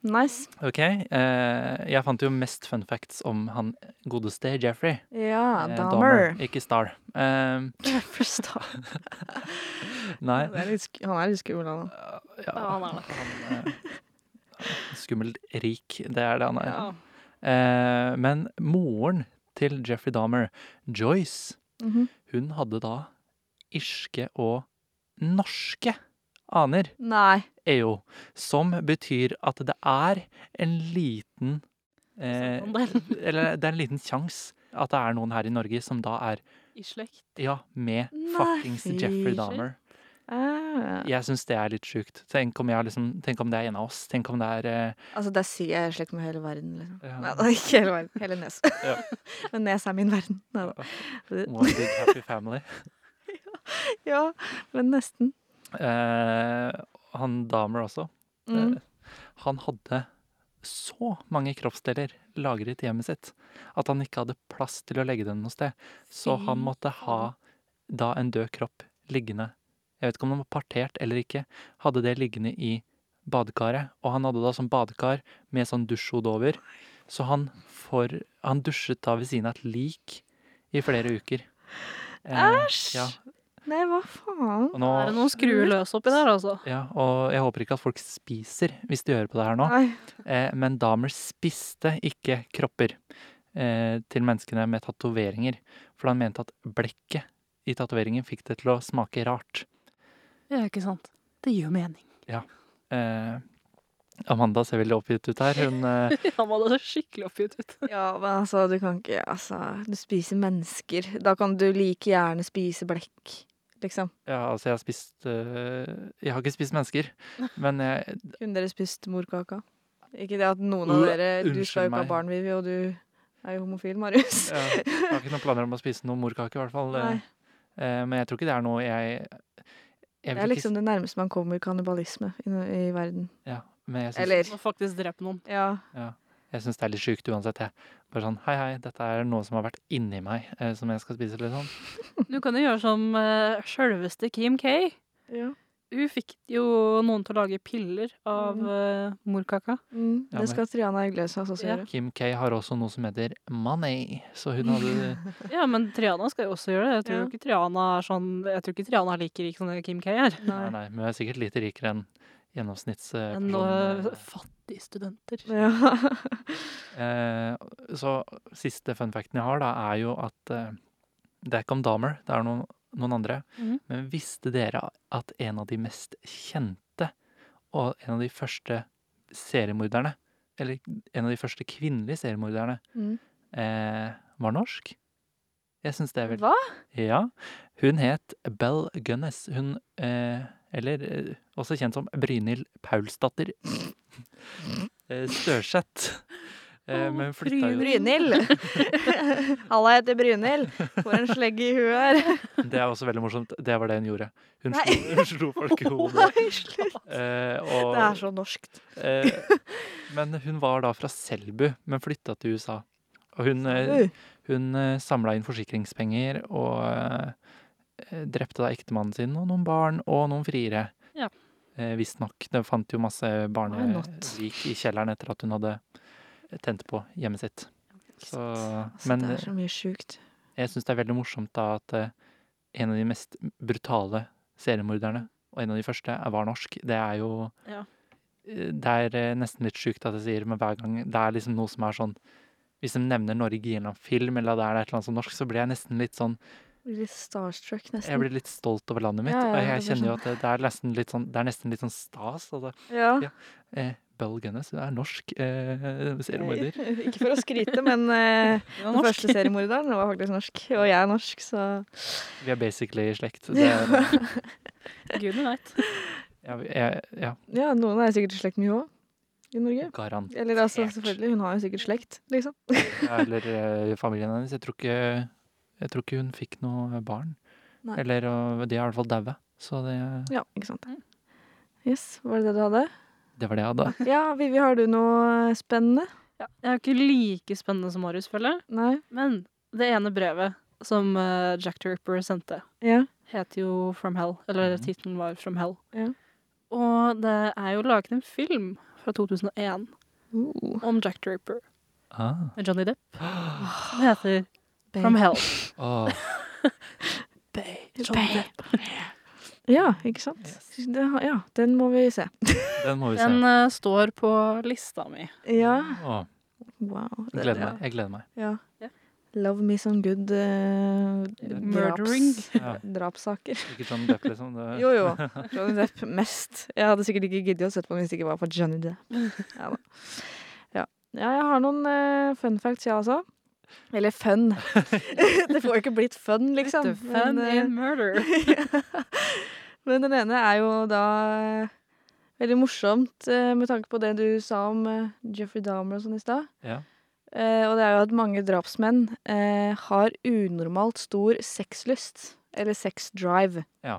Nice.
Ok, eh, Jeg fant jo mest fun facts om han godeste Jeffrey.
Ja,
eh,
Dahmer.
Ikke Star. Eh,
Forstå.
nei
Han er litt sk- han er litt skummel, han.
ja,
Ja, han er det.
han, eh, Skummelt rik, det er det han er.
Ja.
Eh, men moren til Jeffrey Dahmer, Joyce,
Mhm.
hun hadde da irske og norske aner,
Nei.
EO, som betyr at det er en liten
Sånn
eh,
Prosentandel.
Eller det er en liten sjanse at det er noen her i Norge som da er
I slekt.
ja, med
Nei,
fuckings Jeffrey
fy
Dahmer.
Ah.
Jeg syns det er litt sjukt. Tenk om, jeg liksom, tenk om det er en av oss. Tenk om det er eh,
Altså, der sier jeg slekt med hele verden, liksom.
Ja.
Nei, det er ikke hele verden. Hele Nes.
Ja.
Men Nes er min verden. Neida.
One Big Happy Family.
Ja, men nesten.
Eh, han Dahmer også.
Mm.
Han hadde så mange kroppsdeler lagret i hjemmet sitt at han ikke hadde plass til å legge dem noe sted. Så
Fy
han måtte ha da en død kropp liggende. Jeg vet ikke om den var partert eller ikke. Hadde det liggende i badekaret. Og han hadde da sånn badekar med sånn dusjhode over. Så han, for, han dusjet da ved siden av et lik i flere uker. Eh,
Æsj!
ja,
Nei, hva faen?
og nå,
Er det noen skruer løs oppi der, altså?
ja, og jeg håper ikke at folk spiser hvis de hører på det her nå.
Nei.
Eh, men damer spiste ikke kropper eh, til menneskene med tatoveringer, for han mente at blekket i tatoveringen fikk det til å smake rart.
Ja, ikke sant. Det gir jo mening.
Eh, Amanda ser veldig oppgitt ut her. Hun, eh,
Han var da skikkelig oppgitt ut.
Ja, men altså, du kan ikke Altså, du spiser mennesker. Da kan du like gjerne spise blekk, liksom.
ja, altså jeg har spist eh, Jeg har ikke spist mennesker, men jeg
Kunne dere spist morkaka? Ikke det at noen av
Øh,
dere Du skal jo
unnskyld
ikke ha
meg.
barn, Vivi, og du er jo homofil, Marius.
ja, har ikke noen planer om å spise noen morkake, i hvert fall.
Nei.
Eh, Eh, men jeg tror ikke det er noe jeg,
Det
jeg vil
er
ikke
liksom det nærmeste man kommer kannibalisme i, no- i verden.
s- ja, Men jeg syns,
Eller
Og faktisk drepe noen.
Ja.
jeg syns det er litt sjukt uansett. Jeg. Bare sånn Hei, hei, dette er noe som har vært inni meg, eh, som jeg skal spise. Litt sånn.
Du kan jo gjøre som uh, sjølveste Kim K.
ja.
Hun fikk jo noen til å lage piller av eh, morkaka.
Mm,
Ja,
det
men-
skal Triana Iglesias også
Ja.
gjøre.
Kim K har også noe som heter money, så hun hadde
Ja, men Triana skal jo også gjøre det. Jeg tror
Ja.
ikke Triana er sånn Jeg tror ikke Triana er like rik som det Kim K er.
Nei,
Nei.
nei, men hun er sikkert litt rikere enn
Men
gjennomsnittspersonen.
eh, fattige studenter.
Ja.
Eh, så siste fun facten jeg har, da, er jo at eh, det er ikke om damer, det er noen, noen andre.
Mhm.
Men visste dere at en av de mest kjente, og en av de første seriemorderne, eller en av de første kvinnelige seriemorderne,
Mm.
eh, var norsk? Jeg syns det er veldig
Hva?
Ja. Hun het Bell Gunnes. Hun eh, Eller eh, også kjent som Brynhild Paulsdatter eh, Størseth. Eh,
Å,
men hun flytta jo
Brynhild! Halla, jeg heter Brynhild. For en slegg i huet her.
Det er også veldig morsomt. Det var det hun gjorde. Hun
Nei.
slo, hun slo folk i hodet.
Oi, slutt.
Eh,
Det er
og,
så norskt.
eh, men hun var da fra Selbu, men flytta til USA. Og hun, eh,
Uh,
hun eh, samla inn forsikringspenger og eh, drepte da ektemannen sin og noen barn og noen friere.
Ja.
Eh, Visstnok. Det fant jo masse
Why not?
barnelik i kjelleren etter at hun hadde tent på hjemmet sitt. Så,
altså,
men eh,
det er så mye sjukt.
jeg syns det er veldig morsomt da at eh, en av de mest brutale seriemorderne, og en av de første, er- var norsk. Det er jo
Ja.
Eh, Det er eh, nesten litt sjukt at jeg sier det, men hver gang det er liksom noe som er sånn Hvis de nevner Norge i en eller annen film, eller det er et eller annet som norsk, så blir jeg nesten litt sånn
Blir litt starstruck,
Jeg
nesten.
blir litt stolt over landet mitt.
Ja, ja,
og jeg
det blir sånn.
kjenner jo at det, det, er nesten litt sånn, det er nesten litt sånn stas. Altså.
Ja.
Ja. Eh, Bell Gunnes, hun er norsk eh, seriemorder.
Ikke for å skryte, men eh,
Ja,
den første seriemorderen var faktisk norsk. Og jeg er norsk, så
Vi er basically i slekt. Det, er-
Gudene veit.
ja, vi- jeg, ja,
Ja, noen er sikkert i slekt med henne òg i Norge.
garant.
Eller altså,
Helt.
selvfølgelig, hun har jo sikkert slekt, liksom.
Eller eh, familien hennes. Jeg tror ikke, jeg tror ikke hun fikk noe barn.
Nei.
Eller og de er i hvert fall daue. Så det,
Ja, ikke sant.
Mm.
Yes, var det det du hadde?
det var det jeg hadde.
Ja, Vivi, har du noe spennende?
Ja. Jeg er jo ikke like spennende som Marius, føler jeg.
Nei?
Men det ene brevet som eh, Jack the Ripper sendte,
Ja?
heter jo From Hell. Eller
Mhm.
tittelen var From Hell.
Ja.
Og det er jo laget en film fra 2001
Uh,
om Jack the Ripper
Ah.
med Johnny Depp. Den heter From Hell.
Åh,
Bay.
Bay. Ja, ikke sant?
Yes.
Det, har- ja, den må vi se.
den må vi se.
Den eh, står på lista mi.
Ja,
Åh,
wow.
jeg gleder meg. Jeg gleder meg.
Ja.
Ja.
Love me some good eh,
Murdering.
draps,
Ja.
drapssaker.
Ikke John Depp, liksom. Det,
Jo, jo. Johnny Depp mest. Jeg hadde sikkert ikke giddet å sette på den hvis det ikke var for Johnny Depp. Ja, da. ja. ja jeg har noen eh, fun facts, jeg også. Eller fun. det får jo ikke blitt fun, liksom.
The Fun
eh,
in Murder.
Men den ene er jo da eh, veldig morsomt eh, med tanke på det du sa om eh, Jeffrey Dahmer og sånn i stad.
Ja.
Eh, og det er jo at mange drapsmenn eh, har unormalt stor sexlyst, eller sexdrive.
Ja.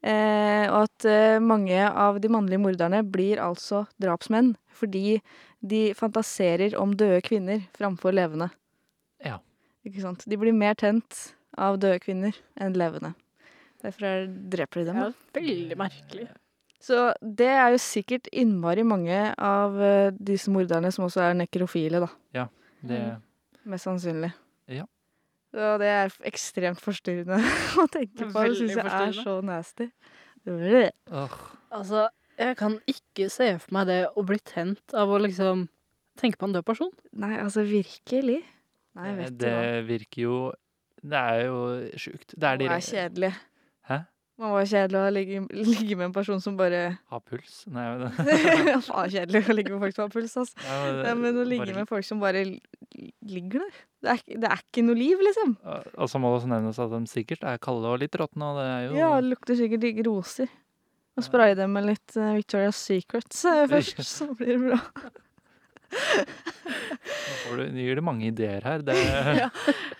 Eh, og at eh, mange av de mannlige morderne blir altså drapsmenn fordi de fantaserer om døde kvinner framfor levende.
Ja.
Ikke sant? De blir mer tent av døde kvinner enn levende. Derfor er, dreper de dem. da.
Ja, veldig merkelig.
Så det er jo sikkert innmari mange av eh, disse morderne som også er nekrofile, da.
Det,
Mm. Mest sannsynlig.
Ja.
Så det er f- ekstremt forstyrrende å tenke på. Det
Veldig
syns jeg er
forstyrrende.
så nasty. Bleh.
åh,
Altså, jeg kan ikke se for meg det å bli tent av å liksom tenke på en død person.
Nei, altså virkelig. Nei,
det,
vet du
Eh, det
hva.
virker jo Det er jo sjukt. Det
Man
er
er
de
kjedelig.
Hæ?
Man var kjedelig å ligge, ligge med en person som bare
Har puls? Nei, men,
Faen kjedelig å ligge med folk som har puls, ass. Nei, men å ligge
bare-
med folk som bare l- ligger der. Det er, ikke- det er ikke noe liv, liksom.
Og så må det også nevnes at de sikkert er kalde og litt råtne, og det er jo
Ja, det lukter sikkert digg roser. Og spraye dem med litt eh, Victoria's Secrets eh, først, så blir det bra.
Nå får du, nå gir det mange ideer her. Det,
Ja.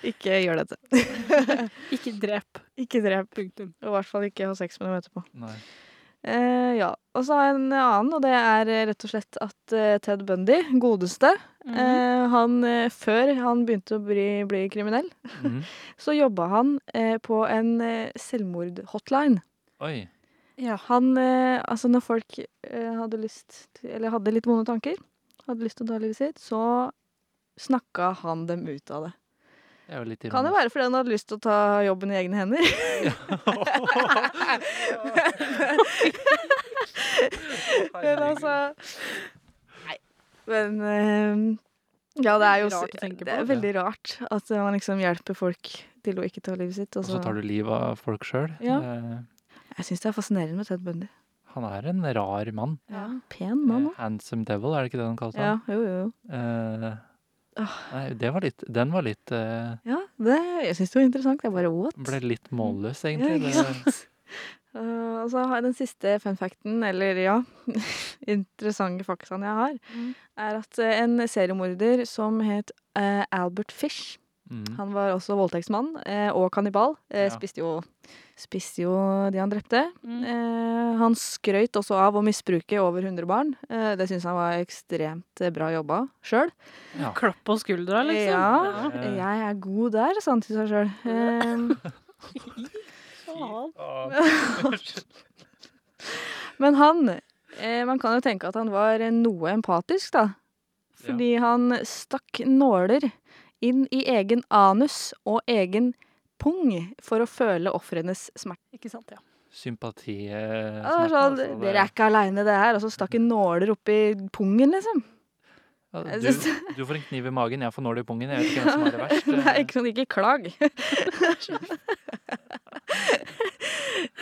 Ikke gjør dette.
Ikke drep.
Ikke drep.
Punktum.
Og i hvert fall ikke ha sex med dem etterpå.
nei.
Eh, ja. Og så har jeg en annen, og det er eh, rett og slett at eh, Ted Bundy, godeste, eh, han eh, før han begynte å bli, bli kriminell,
Mhm.
så jobba han eh, på en eh, selvmordhotline.
Oi.
Ja.
Han eh, Altså, når folk eh, hadde lyst til, Eller hadde litt vonde tanker, hadde lyst til å ta livet sitt, så snakka han dem ut av det.
Det er jo litt
Kan det være fordi han hadde lyst til å ta jobben i egne hender? Men altså Nei. Men eh, Ja, det er jo
Rart å tenke
det er
på.
veldig rart at man liksom hjelper folk til å ikke ta livet sitt. og
Og så
så-
tar du livet av folk sjøl.
Ja. Jeg syns det er fascinerende med Ted Bundy.
Han er en rar mann.
Pen mann
Eh,
òg.
Handsome devil, er det ikke det han kalte
Ja, Ah. jo, jo. jo.
han? Eh, nei, det var litt, den var litt eh,
Ja, det, jeg syns det var interessant. Jeg bare what?
Ble litt målløs,
Ja,
egentlig.
ikke
Det,
sant? Eh, og så har jeg den siste fun facten, eller ja, interessante faktaen jeg har,
Mm.
er at eh, en seriemorder som het eh, Albert Fish
mm.
Han var også voldtektsmann eh, og kannibal. Eh,
Ja.
spiste, jo, spiste jo de han drepte.
Mm.
Eh, han skrøyt også av å misbruke over 100 barn. Eh, det syns han var ekstremt eh, bra jobba sjøl.
ja.
Klapp på skuldra, liksom.
Ja,
Ja.
jeg er god der, sa han til seg sjøl. Eh,
Faen.
men han eh, Man kan jo tenke at han var eh, noe empatisk, da. Fordi han stakk nåler inn i egen anus og egen pung for å føle ofrenes smerte.
Ikke sant, ja.
Sympati eh,
Ja, det var sånn, Dere er ikke aleine, det her. Og så stakk en nåler oppi pungen, liksom. Jeg
du,
synes-
du får en kniv i magen, jeg får nål i pungen. Jeg vet ikke hvem som er det verst.
Nei, ikke sånn, ikke klag.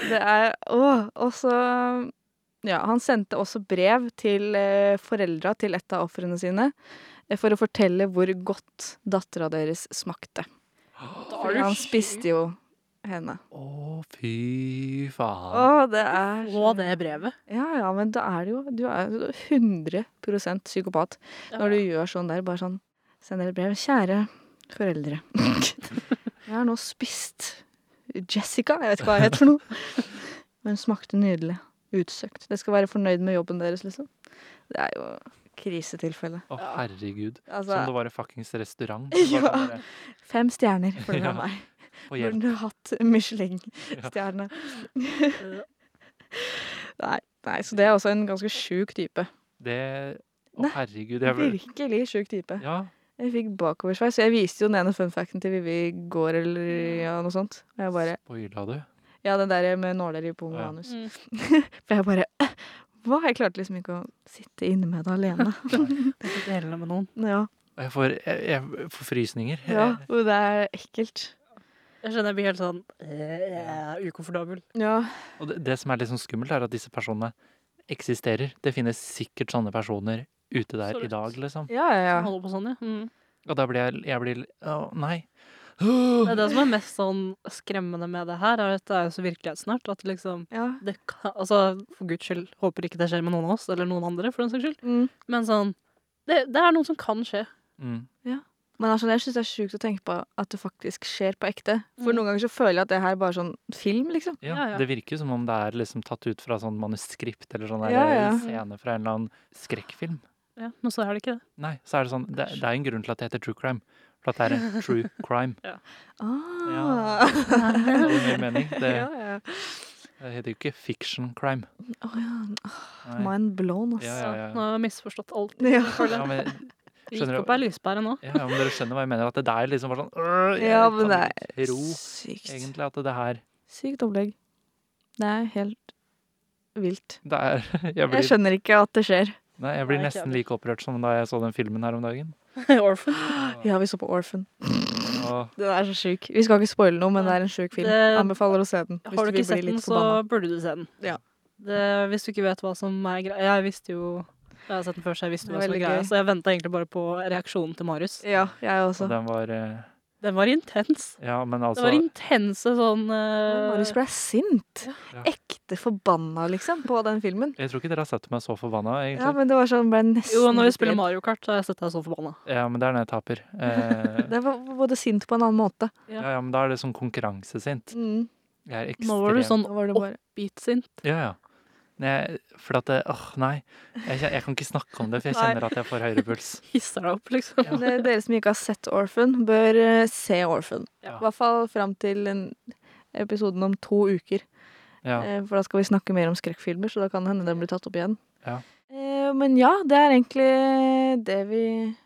det er Å, og så Ja, han sendte også brev til eh, foreldra til et av ofrene sine eh, for å fortelle hvor godt dattera deres smakte. For han spiste jo henne.
Å, fy faen.
Å, det er så-
Og det brevet.
Ja ja, men da er det jo Du er jo 100 psykopat. Når du gjør sånn der, bare sånn Sender et brev. Kjære foreldre. Jeg har nå spist Jessica. Jeg vet ikke hva jeg heter for noe. Men hun smakte nydelig. Utsøkt. Dere skal være fornøyd med jobben deres, liksom. Det er jo krisetilfelle.
Å, herregud. Som det
Altså,
var en fuckings restaurant.
Ja.
Bare sånn der,
fem stjerner får du
Ja.
av meg.
På hjelp.
Burde du hatt Michelin-stjerne. Nei, nei, så det er også en ganske sjuk type.
Det Å,
Nei,
herregud. Jeg ble,
Virkelig sjuk type.
ja,
Jeg fikk bakoversveis. Jeg viste jo den ene funfacten til Vivi i går eller ja, noe sånt. Og jeg bare
spoila du?
Ja, den der med nåler i pung og
Ja.
anus.
Mm.
For jeg bare «Eh, Hva? Jeg klarte liksom ikke å sitte inne med det alene.
Dele med noen.
ja.
Jeg får, jeg, jeg får frysninger.
ja. Og det er ekkelt.
Jeg skjønner jeg blir helt sånn eh, ukomfortabel.
Ja.
Og det, det som er litt sånn skummelt, er at disse personene eksisterer. Det finnes sikkert sånne personer ute der i
Absolutt.
dag, liksom.
Ja, ja, ja.
Holder på sånn, ja. Mm.
Og da blir jeg, jeg blir, Å, nei.
Det er det som er mest sånn skremmende med det her, er at det er jo så virkelighetsnært at liksom
ja.
det kan, altså, For guds skyld, håper ikke det skjer med noen av oss, eller noen andre, for den saks skyld.
Mm.
Men sånn Det, det er noe som kan skje.
Mm.
Men altså, jeg syns det er sjukt å tenke på at det faktisk skjer på ekte. For
Mm.
noen ganger så føler jeg at det her er bare sånn film, liksom.
Ja,
Ja, ja.
Det virker jo som om det er liksom tatt ut fra sånn manuskript eller sånn der
Ja, ja.
eh, scene fra en eller annen skrekkfilm.
Ja, men så er det ikke det.
Nei, så er det sånn Det, det er jo en grunn til at det heter true crime. For at det er en true crime.
Ah.
Det er jo min mening. Det,
ja, ja.
det heter jo ikke fiction crime.
Å ja.
Nei.
Mind blown, ass.
Ja, ja, ja.
Nå har jeg misforstått alt.
Ja.
Ja, men,
Vi
Skjønner
gikk
du-
opp ei lyspære nå.
ja, men dere skjønner hva jeg mener. At det der liksom var sånn øh, Jeg
Ja, men
kan
det
ikke
er
tro
sykt.
egentlig at det her
Sykt opplegg. Det er helt vilt.
det er, jeg,
Jeg
blir,
skjønner ikke at det skjer.
nei, jeg blir
Nei, ikke
nesten like opprørt som da jeg så den filmen her om dagen.
Orphan.
Ja, vi så på Orphan.
Og,
Den er så sjuk. Vi skal ikke spoile noe, men det er en sjuk film.
Det-
Anbefaler å se den. hvis
Har du
vil
ikke sett
bli litt
den, så
forbanna.
burde du se den.
Ja.
Det, hvis du ikke vet hva som er greia Jeg visste jo Jeg har sett den før, så jeg visste
Det er
hva som var
veldig
greia.
gøy.
Så jeg venta egentlig bare på reaksjonen til Marius.
Ja, jeg også.
og den var eh,
Den var intens.
Ja, men
Det
altså
var intense sånn eh,
Marius ble sint.
Ja.
Ekte forbanna, liksom, på den filmen.
Jeg tror ikke dere har sett meg så forbanna,
Ja,
egentlig.
men det var sånn, ble nesten
Jo, når vi
litt
spiller
redd.
Mario Kart, så har jeg sett deg så forbanna.
Ja, men det er når jeg taper. Eh,
Det var både sint på en annen måte.
ja, ja, men da er det sånn konkurransesint.
Mm.
Jeg er ekstremt
Nå var du sånn
Da var det bare
oppbitsint.
Ja, ja. Nei, jeg- for at det, åh, nei. Jeg, kjen- jeg kan ikke snakke om det, for jeg
Nei.
kjenner at jeg får høyere puls.
Hisser deg opp, liksom.
Ja.
Det- Dere som ikke har sett Orphan, bør eh, se Orphan.
Ja.
I hvert fall fram til en episoden om to uker.
Ja.
Eh, For da skal vi snakke mer om skrekkfilmer, så da kan det hende den blir tatt opp igjen.
Ja.
Eh, Men ja, det er egentlig det vi,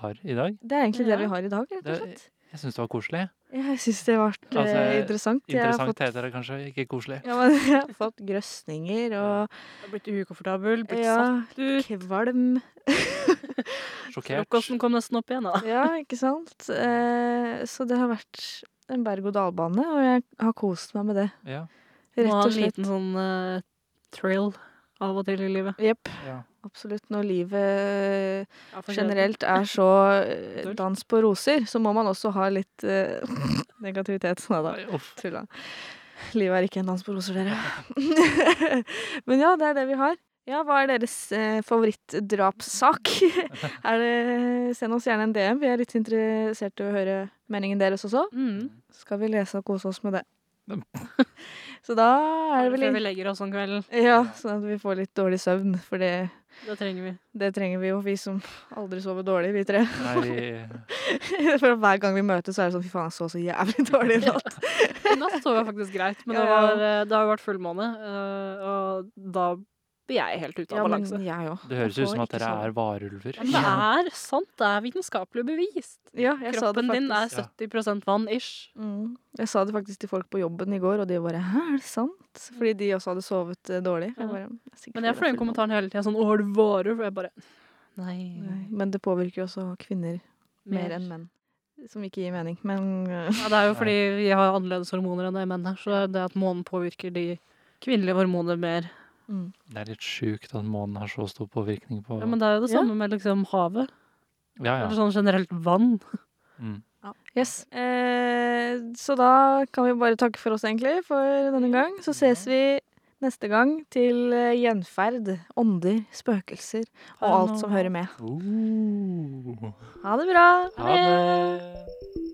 Har i dag.
det, er egentlig
Ja.
det vi har i dag, rett og
Det-
slett.
Jeg syns det var koselig.
Jeg syns det har vært eh,
Altså,
interessant. Jeg har
Interessant
fått-
heter det kanskje, ikke koselig.
Ja, men jeg har fått grøsninger og
Jeg har blitt ukomfortabel, blitt
ja,
satt ut.
kvalm.
Sjokkert.
Frokosten kom nesten opp igjen, da.
Ja, ikke sant? Eh, Så det har vært en berg-og-dal-bane, og jeg har kost meg med det.
Ja.
Må ha
Rett og
en
slett.
liten sånn eh, thrill av og til i livet.
Jepp.
ja.
Absolutt. Når livet
Generelt.
generelt er så eh,
Dølt.
dans på roser, så må man også ha litt eh, negativitet. Nei da,
Nei, Uff.
tulla. Livet er ikke en dans på roser, dere. Men ja, det er det vi har. Ja, hva er deres eh, favorittdrapssak? er det, send oss gjerne en DM. Vi er litt interessert i å høre meningen deres også.
Mm.
Så skal vi lese og kose oss med det. Så da er det
Før vi
vel
legger oss om kvelden.
Ja, sånn at vi får litt dårlig søvn, for det,
Det trenger vi.
det trenger vi jo, vi som aldri sover dårlig, vi tre.
Nei, vi
For hver gang vi møtes, så er det sånn Fy faen, jeg så så jævlig dårlig i natt.
I natt sov jeg faktisk greit, men
Ja,
det,
ja.
var, eh, det har jo vært fullmåne, eh, og da blir jeg helt ute av balanse.
jeg òg.
Det høres
Jeg
ut som
får
at
ikke
dere
sove.
er varulver.
Men det er sant, det er vitenskapelig bevist.
Ja, jeg sa det
Kroppen din er
faktisk.
Ja.
70 vann-ish.
Mm. Jeg sa det faktisk til folk på jobben i går, og de bare Hæ, er det sant? Fordi de også hadde sovet eh, dårlig.
Ja.
Jeg bare, "Det er sikkert
Men
fordi det er
jeg får den
full
kommentaren hele tida sånn 'Å, har du varer?' For jeg bare Nei.
måned." Nei, Men det påvirker jo også kvinner mer enn menn. Som ikke gir mening, men eh,
Ja, det er jo fordi vi har annerledes hormoner enn de mennene. Så det at månen påvirker de kvinnelige hormonene mer
mm.
Det er litt sjukt at månen har så stor påvirkning på
ja, Men det er jo det
Ja.
samme med liksom havet.
Ja,
Eller
ja.
sånn generelt vann.
Mm.
Yes. Eh, så da kan vi bare takke for oss, egentlig, for denne gang. Så ses vi neste gang til eh, gjenferd, ånder, spøkelser og alt som hører med.
Oh.
Ha det bra!
Ha det!